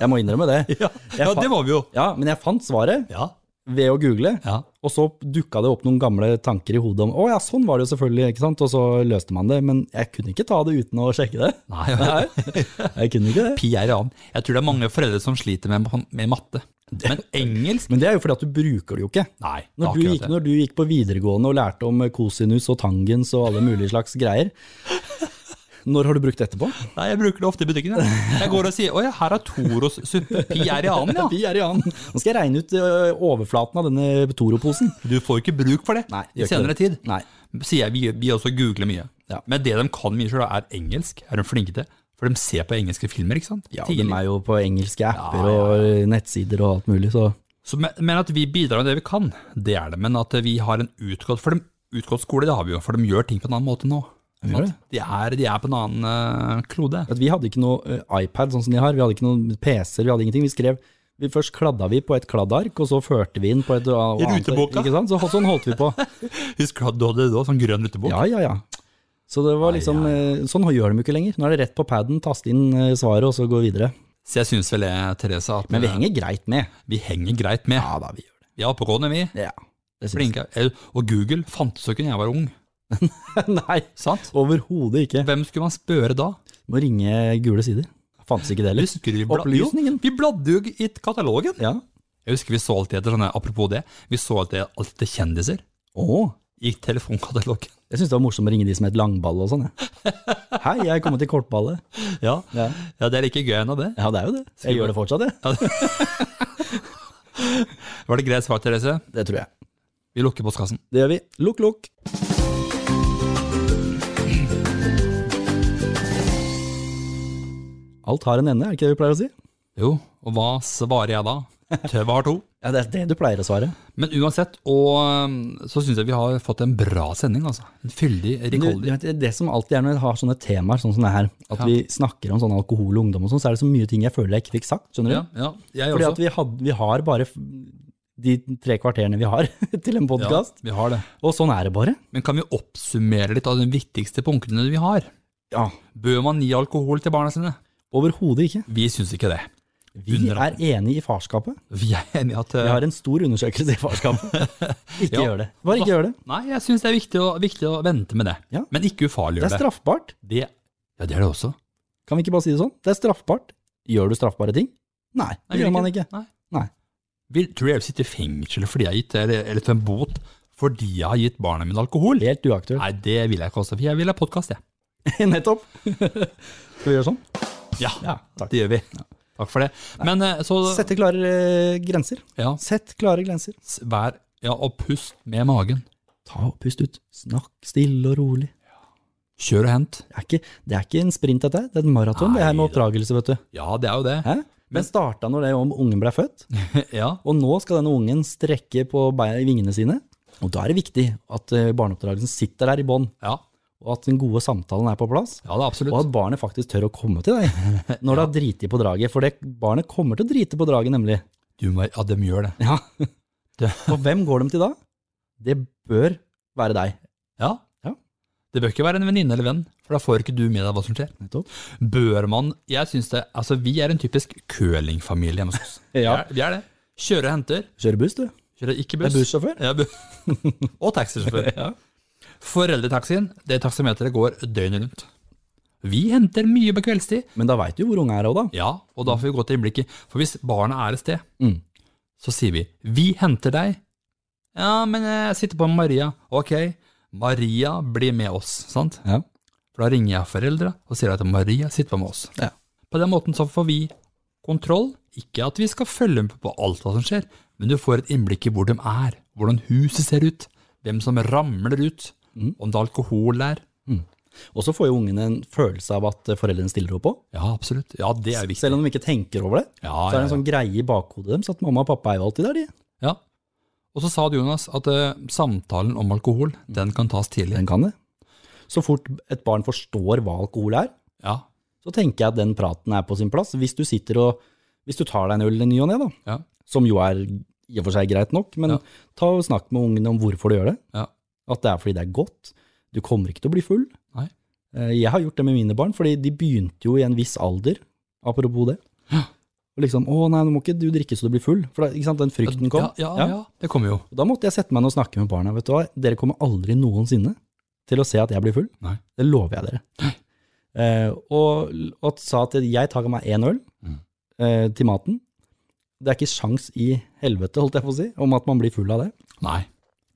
[SPEAKER 1] Jeg må innrømme det.
[SPEAKER 2] Ja,
[SPEAKER 1] Jeg fa-
[SPEAKER 2] det må vi jo.
[SPEAKER 1] Ja, men jeg fant svaret
[SPEAKER 2] Ja,
[SPEAKER 1] ved å google.
[SPEAKER 2] ja.
[SPEAKER 1] Og så dukka det opp noen gamle tanker i hodet om å ja, sånn var det jo selvfølgelig, ikke sant? Og så løste man det, men jeg kunne ikke ta det uten å sjekke det.
[SPEAKER 2] Nei,
[SPEAKER 1] Jeg kunne ikke det.
[SPEAKER 2] Pi er annen. Jeg tror det er mange foreldre som sliter med, med matte. Men engelsk?
[SPEAKER 1] Men det er jo fordi at du bruker det jo ikke.
[SPEAKER 2] Nei. det er
[SPEAKER 1] Når du,
[SPEAKER 2] akkurat
[SPEAKER 1] gikk,
[SPEAKER 2] det.
[SPEAKER 1] når du gikk på videregående og lærte om eh, kosinus og tangens og alle mulige slags greier, når har du brukt det etterpå?
[SPEAKER 2] Nei, jeg bruker det ofte i butikken. Jeg, jeg går og sier 'Å ja, her er Toros suppe'. Pi er i annen, ja.
[SPEAKER 1] Vi er i annen. Nå skal jeg regne ut ø, overflaten av denne Toro-posen.
[SPEAKER 2] Du får ikke bruk for det
[SPEAKER 1] Nei, det gjør
[SPEAKER 2] i
[SPEAKER 1] ikke
[SPEAKER 2] senere tid.
[SPEAKER 1] Nei.
[SPEAKER 2] sier jeg, vi, vi også googler mye.
[SPEAKER 1] Ja.
[SPEAKER 2] Men det de kan mye selv da, er engelsk. Er de flinke til? For de ser på engelske filmer, ikke sant?
[SPEAKER 1] Ja, de
[SPEAKER 2] Tidlig.
[SPEAKER 1] er jo på engelske apper
[SPEAKER 2] Ja, ja,
[SPEAKER 1] og nettsider og alt mulig, så
[SPEAKER 2] Så, men, men at vi bidrar med det vi kan, det er det. Men at vi har en utgått, for de, utgått skole, det har vi jo. For de gjør ting på en annen måte nå.
[SPEAKER 1] De gjør det.
[SPEAKER 2] De er, de er på en annen eh, klode.
[SPEAKER 1] at vi hadde ikke noe ø, iPad sånn som de har, vi hadde ikke noen PC-er, vi hadde ingenting. Vi skrev vi Først kladda vi på et kladdark, og så førte vi inn på et eh, annet.
[SPEAKER 2] ruteboka.
[SPEAKER 1] Ikke sant? Så, sånn holdt vi på.
[SPEAKER 2] Husker du at du hadde det også, sånn grønn rutebok?
[SPEAKER 1] Ja, ja, ja. Så det var liksom, eh, sånn gjør de jo ikke lenger. Nå er det rett på paden, taste inn eh, svaret og så gå videre.
[SPEAKER 2] Så jeg synes vel det, Therese, at eh,
[SPEAKER 1] Men vi henger greit med.
[SPEAKER 2] vi henger greit med.
[SPEAKER 1] Ja da, vi gjør
[SPEAKER 2] Vi er oppegående, vi.
[SPEAKER 1] det. Ja. Det synes jeg.
[SPEAKER 2] Flinke. Eh, Og Google fantes jo ikke da jeg var ung,
[SPEAKER 1] Nei,
[SPEAKER 2] sant?
[SPEAKER 1] overhodet ikke.
[SPEAKER 2] Hvem skulle man spørre da?
[SPEAKER 1] Må ringe Gule sider. Fantes ikke det heller.
[SPEAKER 2] Husker du vi bla-
[SPEAKER 1] Opplysningen.
[SPEAKER 2] Jo, Vi bladde jo i katalogen.
[SPEAKER 1] Ja.
[SPEAKER 2] Jeg husker vi så alltid etter sånne, apropos det, vi så alltid, alltid etter kjendiser
[SPEAKER 1] Åh,
[SPEAKER 2] i telefonkatalogen.
[SPEAKER 1] jeg syns det var morsomt å ringe de som het Langball og sånn. jeg. Hei, jeg er kommet til kortballet.
[SPEAKER 2] Ja.
[SPEAKER 1] Ja.
[SPEAKER 2] ja, det er like gøy enn av det.
[SPEAKER 1] ja, det er jo det. Jeg gjør det fortsatt, jeg.
[SPEAKER 2] Var det greit svar, Therese?
[SPEAKER 1] Det tror jeg.
[SPEAKER 2] Vi lukker postkassen.
[SPEAKER 1] Det gjør vi. Lukk, lukk. Alt har en ende, er det ikke det vi pleier å si?
[SPEAKER 2] Jo, og hva svarer jeg da? Tøva har to.
[SPEAKER 1] Ja, Det er det du pleier å svare.
[SPEAKER 2] Men uansett, og um, så syns jeg vi har fått en bra sending, altså. En fyldig,
[SPEAKER 1] Du, du
[SPEAKER 2] rikholdig.
[SPEAKER 1] vet, det er det som alltid er når jeg har sånne temaer, sånn som det her, at
[SPEAKER 2] Ja.
[SPEAKER 1] vi snakker om sånn alkohol og ungdom og sånn, så er det så mye ting jeg føler jeg ikke fikk sagt, skjønner du?
[SPEAKER 2] Ja, ja, jeg
[SPEAKER 1] Fordi
[SPEAKER 2] også.
[SPEAKER 1] at vi, had, vi har bare f- de tre kvarterene vi har til en podkast,
[SPEAKER 2] Ja, vi har det.
[SPEAKER 1] og sånn er det bare.
[SPEAKER 2] Men kan vi oppsummere litt av de viktigste punktene vi har?
[SPEAKER 1] Ja.
[SPEAKER 2] Bør man gi alkohol til barna sine?
[SPEAKER 1] Overhodet ikke.
[SPEAKER 2] Vi syns ikke det.
[SPEAKER 1] Vi
[SPEAKER 2] Under
[SPEAKER 1] er enig i farskapet.
[SPEAKER 2] Vi er enige at
[SPEAKER 1] Vi
[SPEAKER 2] eh,
[SPEAKER 1] har en stor undersøkelse i farskapet. Ikke
[SPEAKER 2] Ja.
[SPEAKER 1] gjør det. Bare ikke gjør det.
[SPEAKER 2] Nei, jeg syns det er viktig å, viktig å vente med det.
[SPEAKER 1] Ja.
[SPEAKER 2] Men ikke
[SPEAKER 1] Det
[SPEAKER 2] ufarliggjør
[SPEAKER 1] er
[SPEAKER 2] det.
[SPEAKER 1] straffbart.
[SPEAKER 2] det. Ja, det er det også.
[SPEAKER 1] Kan vi ikke bare si det sånn? Det er straffbart. Gjør du straffbare ting? Nei, det
[SPEAKER 2] Nei,
[SPEAKER 1] gjør man ikke.
[SPEAKER 2] Nei.
[SPEAKER 1] Nei.
[SPEAKER 2] Vil, tror du jeg vil sitte i fengsel fordi jeg har gitt, eller, eller til en bot fordi jeg har gitt barna mine alkohol?
[SPEAKER 1] Helt uaktuelt.
[SPEAKER 2] Nei, det vil jeg ikke også, for jeg vil ha podkast, jeg.
[SPEAKER 1] Nettopp. Skal vi gjøre sånn?
[SPEAKER 2] Ja,
[SPEAKER 1] Ja, takk.
[SPEAKER 2] det gjør vi. Takk for det. Men eh, så
[SPEAKER 1] Sette klare eh, grenser.
[SPEAKER 2] ja,
[SPEAKER 1] Sett klare grenser.
[SPEAKER 2] s- vær, ja, og pust med magen.
[SPEAKER 1] Ta og Pust ut. Snakk stille og rolig.
[SPEAKER 2] Kjør og hent.
[SPEAKER 1] Det er ikke, det er ikke en sprint, dette her. Det er en maraton, det her med
[SPEAKER 2] Nei,
[SPEAKER 1] oppdragelse, vet du.
[SPEAKER 2] Ja, det er jo det.
[SPEAKER 1] Hæ? Den starta når det om ungen ble født,
[SPEAKER 2] Ja,
[SPEAKER 1] og nå skal denne ungen strekke på bei- vingene sine. Og da er det viktig at eh, barneoppdragelsen sitter der i bånn,
[SPEAKER 2] ja,
[SPEAKER 1] og at den gode samtalen er på plass.
[SPEAKER 2] ja det er
[SPEAKER 1] Og
[SPEAKER 2] absolutt.
[SPEAKER 1] at barnet faktisk tør å komme til deg når det har driti på draget. For det, barnet kommer til å drite på draget, nemlig.
[SPEAKER 2] Du må, ja, de gjør det.
[SPEAKER 1] Ja.
[SPEAKER 2] Det-
[SPEAKER 1] Og hvem går de til da? Det bør være deg.
[SPEAKER 2] Ja.
[SPEAKER 1] Ja.
[SPEAKER 2] Det bør ikke være en venninne eller venn, for da får ikke du med deg hva som skjer.
[SPEAKER 1] Nettopp.
[SPEAKER 2] Bør man Jeg synes det Altså, vi er en typisk curlingfamilie hjemme hos oss.
[SPEAKER 1] Ja.
[SPEAKER 2] Vi er- Vi er det. Kjører og henter.
[SPEAKER 1] Kjører buss, du.
[SPEAKER 2] Kjører ikke
[SPEAKER 1] Det
[SPEAKER 2] buss.
[SPEAKER 1] er bussjåfør.
[SPEAKER 2] Ja, bu og taxisjåfør.
[SPEAKER 1] Ja.
[SPEAKER 2] Foreldretaxien, det taksameteret går døgnet rundt. Vi henter mye på kveldstid.
[SPEAKER 1] Men da veit du hvor unge er òg, da.
[SPEAKER 2] Ja, og da får vi gå til innblikket. For hvis barnet er et sted,
[SPEAKER 1] Mm.
[SPEAKER 2] så sier vi 'vi henter deg'. Ja, men jeg sitter på Maria. Ok, Maria blir med oss, sant?
[SPEAKER 1] Ja.
[SPEAKER 2] For da ringer jeg foreldra og sier at Maria sitter på med oss.
[SPEAKER 1] Ja.
[SPEAKER 2] På den måten så får vi kontroll. Ikke at vi skal følge med på alt hva som skjer, men du får et innblikk i hvor de er, hvordan huset ser ut, hvem som ramler ut,
[SPEAKER 1] Mm.
[SPEAKER 2] om det er alkohol der.
[SPEAKER 1] Og så får jo ungene en følelse av at foreldrene stiller opp òg.
[SPEAKER 2] Ja, absolutt. Ja, det er viktig.
[SPEAKER 1] Selv om de ikke tenker over det. Så er
[SPEAKER 2] Ja,
[SPEAKER 1] det
[SPEAKER 2] ja,
[SPEAKER 1] en sånn greie i bakhodet deres at mamma og pappa er jo alltid der, de.
[SPEAKER 2] Ja. Og så sa du, Jonas, at eh, samtalen om alkohol, den kan tas tidlig.
[SPEAKER 1] Den kan det. Så fort et barn forstår hva alkohol er,
[SPEAKER 2] Ja,
[SPEAKER 1] så tenker jeg at den praten er på sin plass. Hvis du sitter og hvis du tar deg en øl i ny og ne, da,
[SPEAKER 2] ja,
[SPEAKER 1] som jo er i og for seg greit nok, men
[SPEAKER 2] Ja.
[SPEAKER 1] ta og snakk med ungene om hvorfor du gjør det.
[SPEAKER 2] ja.
[SPEAKER 1] At det er fordi det er godt. Du kommer ikke til å bli full.
[SPEAKER 2] Nei.
[SPEAKER 1] Eh, Jeg har gjort det med mine barn, fordi de begynte jo i en viss alder, apropos det. Og liksom, å nei, nå må ikke du drikke så du blir full. For da, ikke sant, den frykten kom.
[SPEAKER 2] Ja, ja, ja, det kommer jo.
[SPEAKER 1] Og da måtte jeg sette meg ned og snakke med barna. Vet du hva, dere kommer aldri noensinne til å se at jeg blir full.
[SPEAKER 2] Nei.
[SPEAKER 1] Det lover jeg dere. Eh, og, og sa at jeg tar meg én øl
[SPEAKER 2] Mm.
[SPEAKER 1] eh, til maten. Det er ikke sjans i helvete, holdt jeg på å si, om at man blir full av det
[SPEAKER 2] Nei.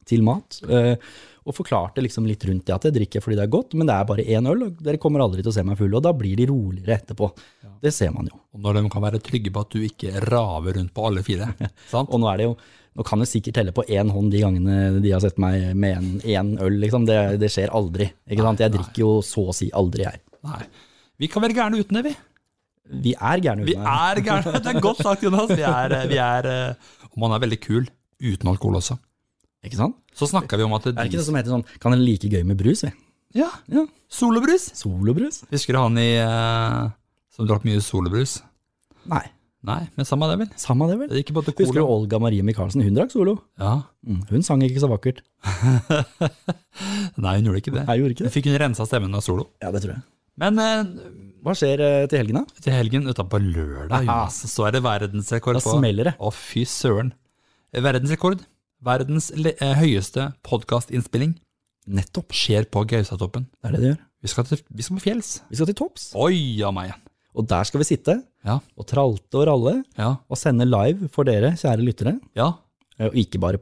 [SPEAKER 1] til mat. eh, Og forklarte liksom litt rundt det at jeg drikker fordi det er godt, men det er bare én øl, og dere kommer aldri til å se meg full. Og da blir de roligere etterpå. Det ser man jo.
[SPEAKER 2] Og når de kan være trygge på at du ikke raver rundt på alle fire. sant?
[SPEAKER 1] Og nå er det jo Nå kan jeg sikkert telle på én hånd de gangene de har sett meg med en, en øl, liksom. Det, det skjer aldri. Ikke sant? Jeg drikker jo så å si aldri, jeg.
[SPEAKER 2] Nei. Vi kan være gærne uten det, vi.
[SPEAKER 1] Vi er gærne
[SPEAKER 2] Vi
[SPEAKER 1] uten det.
[SPEAKER 2] er gærne. Det er godt sagt, Jonas. Vi er, eh, vi er eh, Og man er veldig kul uten alkohol også.
[SPEAKER 1] Ikke sant?
[SPEAKER 2] Så snakka vi om at
[SPEAKER 1] Er det ikke det som heter sånn Kan en like gøy med brus, vi?
[SPEAKER 2] Ja.
[SPEAKER 1] Ja.
[SPEAKER 2] Solobrus.
[SPEAKER 1] Solobrus?
[SPEAKER 2] Husker du han i eh, som drakk mye solobrus?
[SPEAKER 1] Nei.
[SPEAKER 2] Nei, men samme det, vel.
[SPEAKER 1] Samme det, vel.
[SPEAKER 2] Det gikk både
[SPEAKER 1] Husker du
[SPEAKER 2] cola
[SPEAKER 1] Olga Marie Michaelsen? Hun drakk solo.
[SPEAKER 2] Ja.
[SPEAKER 1] Mm, Hun sang ikke så vakkert.
[SPEAKER 2] Nei, hun gjorde ikke det.
[SPEAKER 1] Jeg gjorde ikke det.
[SPEAKER 2] Hun fikk hun rensa stemmen av solo.
[SPEAKER 1] Ja, det tror jeg.
[SPEAKER 2] Men eh,
[SPEAKER 1] Hva skjer eh, til helgen, da?
[SPEAKER 2] til helgen, vet du, på lørdag, Jonas, så er det verdensrekord
[SPEAKER 1] Da
[SPEAKER 2] på
[SPEAKER 1] smeller det.
[SPEAKER 2] Å, fy søren. Verdensrekord. Verdens le eh, høyeste podkastinnspilling
[SPEAKER 1] Nettopp.
[SPEAKER 2] skjer på Gaustatoppen.
[SPEAKER 1] Det er det det gjør.
[SPEAKER 2] Vi skal, til, vi skal på fjells.
[SPEAKER 1] Vi skal til topps,
[SPEAKER 2] Oi a meg.
[SPEAKER 1] og der skal vi sitte
[SPEAKER 2] Ja.
[SPEAKER 1] og tralte og ralle,
[SPEAKER 2] Ja.
[SPEAKER 1] og sende live for dere, kjære lyttere.
[SPEAKER 2] ja.
[SPEAKER 1] Eh, Og ikke bare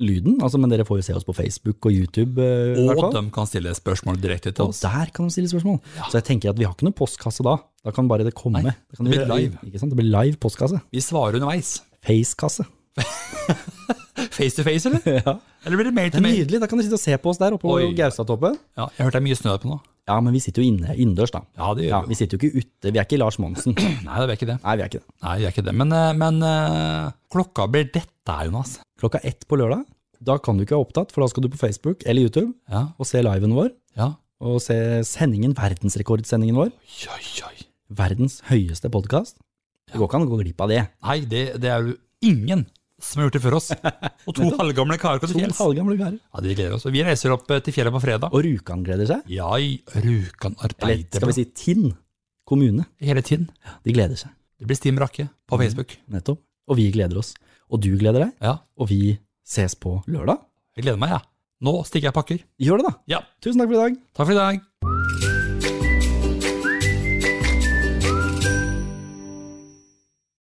[SPEAKER 1] lyden, altså, men dere får jo se oss på Facebook og YouTube. eh, i hvert
[SPEAKER 2] Og
[SPEAKER 1] fall.
[SPEAKER 2] de kan stille spørsmål direkte til
[SPEAKER 1] Og
[SPEAKER 2] oss.
[SPEAKER 1] der kan de stille spørsmål. Så jeg tenker at vi har ikke noen postkasse da. Da kan bare det komme.
[SPEAKER 2] Nei,
[SPEAKER 1] Da kan du
[SPEAKER 2] det blir
[SPEAKER 1] gjøre-
[SPEAKER 2] live.
[SPEAKER 1] Ikke sant? Det blir live postkasse.
[SPEAKER 2] Vi svarer underveis.
[SPEAKER 1] Facekasse.
[SPEAKER 2] Face to face, eller?
[SPEAKER 1] Ja.
[SPEAKER 2] Eller blir det mail
[SPEAKER 1] Det er
[SPEAKER 2] til mail?
[SPEAKER 1] nydelig. Da kan du sitte og se på oss der oppe på
[SPEAKER 2] Oi.
[SPEAKER 1] Gaustatoppen.
[SPEAKER 2] Ja, jeg hørte det er mye snø der på nå.
[SPEAKER 1] Ja, men vi sitter jo inne, innendørs, da.
[SPEAKER 2] Ja, det
[SPEAKER 1] Ja,
[SPEAKER 2] gjør vi.
[SPEAKER 1] vi sitter jo ikke ute. Vi er ikke Lars Monsen. Nei,
[SPEAKER 2] Nei, det er ikke det.
[SPEAKER 1] vi er ikke det.
[SPEAKER 2] Nei, vi er ikke det. Men, eh, men eh, klokka blir dette, Jonas.
[SPEAKER 1] Klokka ett på lørdag, da kan du ikke være opptatt, for da skal du på Facebook eller YouTube
[SPEAKER 2] Ja,
[SPEAKER 1] og se liven vår.
[SPEAKER 2] ja.
[SPEAKER 1] Og se sendingen, verdensrekordsendingen vår.
[SPEAKER 2] Oi, oi, oi.
[SPEAKER 1] Verdens høyeste podkast. Det går ikke an å gå glipp av det.
[SPEAKER 2] Nei, det, det er jo ingen som har gjort det før oss. Og to Sånn halvgamle karer går
[SPEAKER 1] To
[SPEAKER 2] til fjells.
[SPEAKER 1] halvgamle karer.
[SPEAKER 2] Ja, de gleder oss. Og Vi reiser opp eh, til fjellet på fredag.
[SPEAKER 1] Og Rjukan gleder seg.
[SPEAKER 2] Ja, i Rjukan
[SPEAKER 1] Eller skal
[SPEAKER 2] arbeider
[SPEAKER 1] vi si Tinn kommune.
[SPEAKER 2] hele tiden.
[SPEAKER 1] De gleder seg.
[SPEAKER 2] Det blir Stim Rakke
[SPEAKER 1] Mhm.
[SPEAKER 2] på Facebook.
[SPEAKER 1] Nettopp. Og vi gleder oss. Og du gleder deg.
[SPEAKER 2] Ja,
[SPEAKER 1] Og vi ses på lørdag.
[SPEAKER 2] jeg gleder meg, jeg. Ja. Nå stikker jeg pakker.
[SPEAKER 1] Gjør det, da.
[SPEAKER 2] Ja,
[SPEAKER 1] Tusen takk for i dag.
[SPEAKER 2] takk for i dag.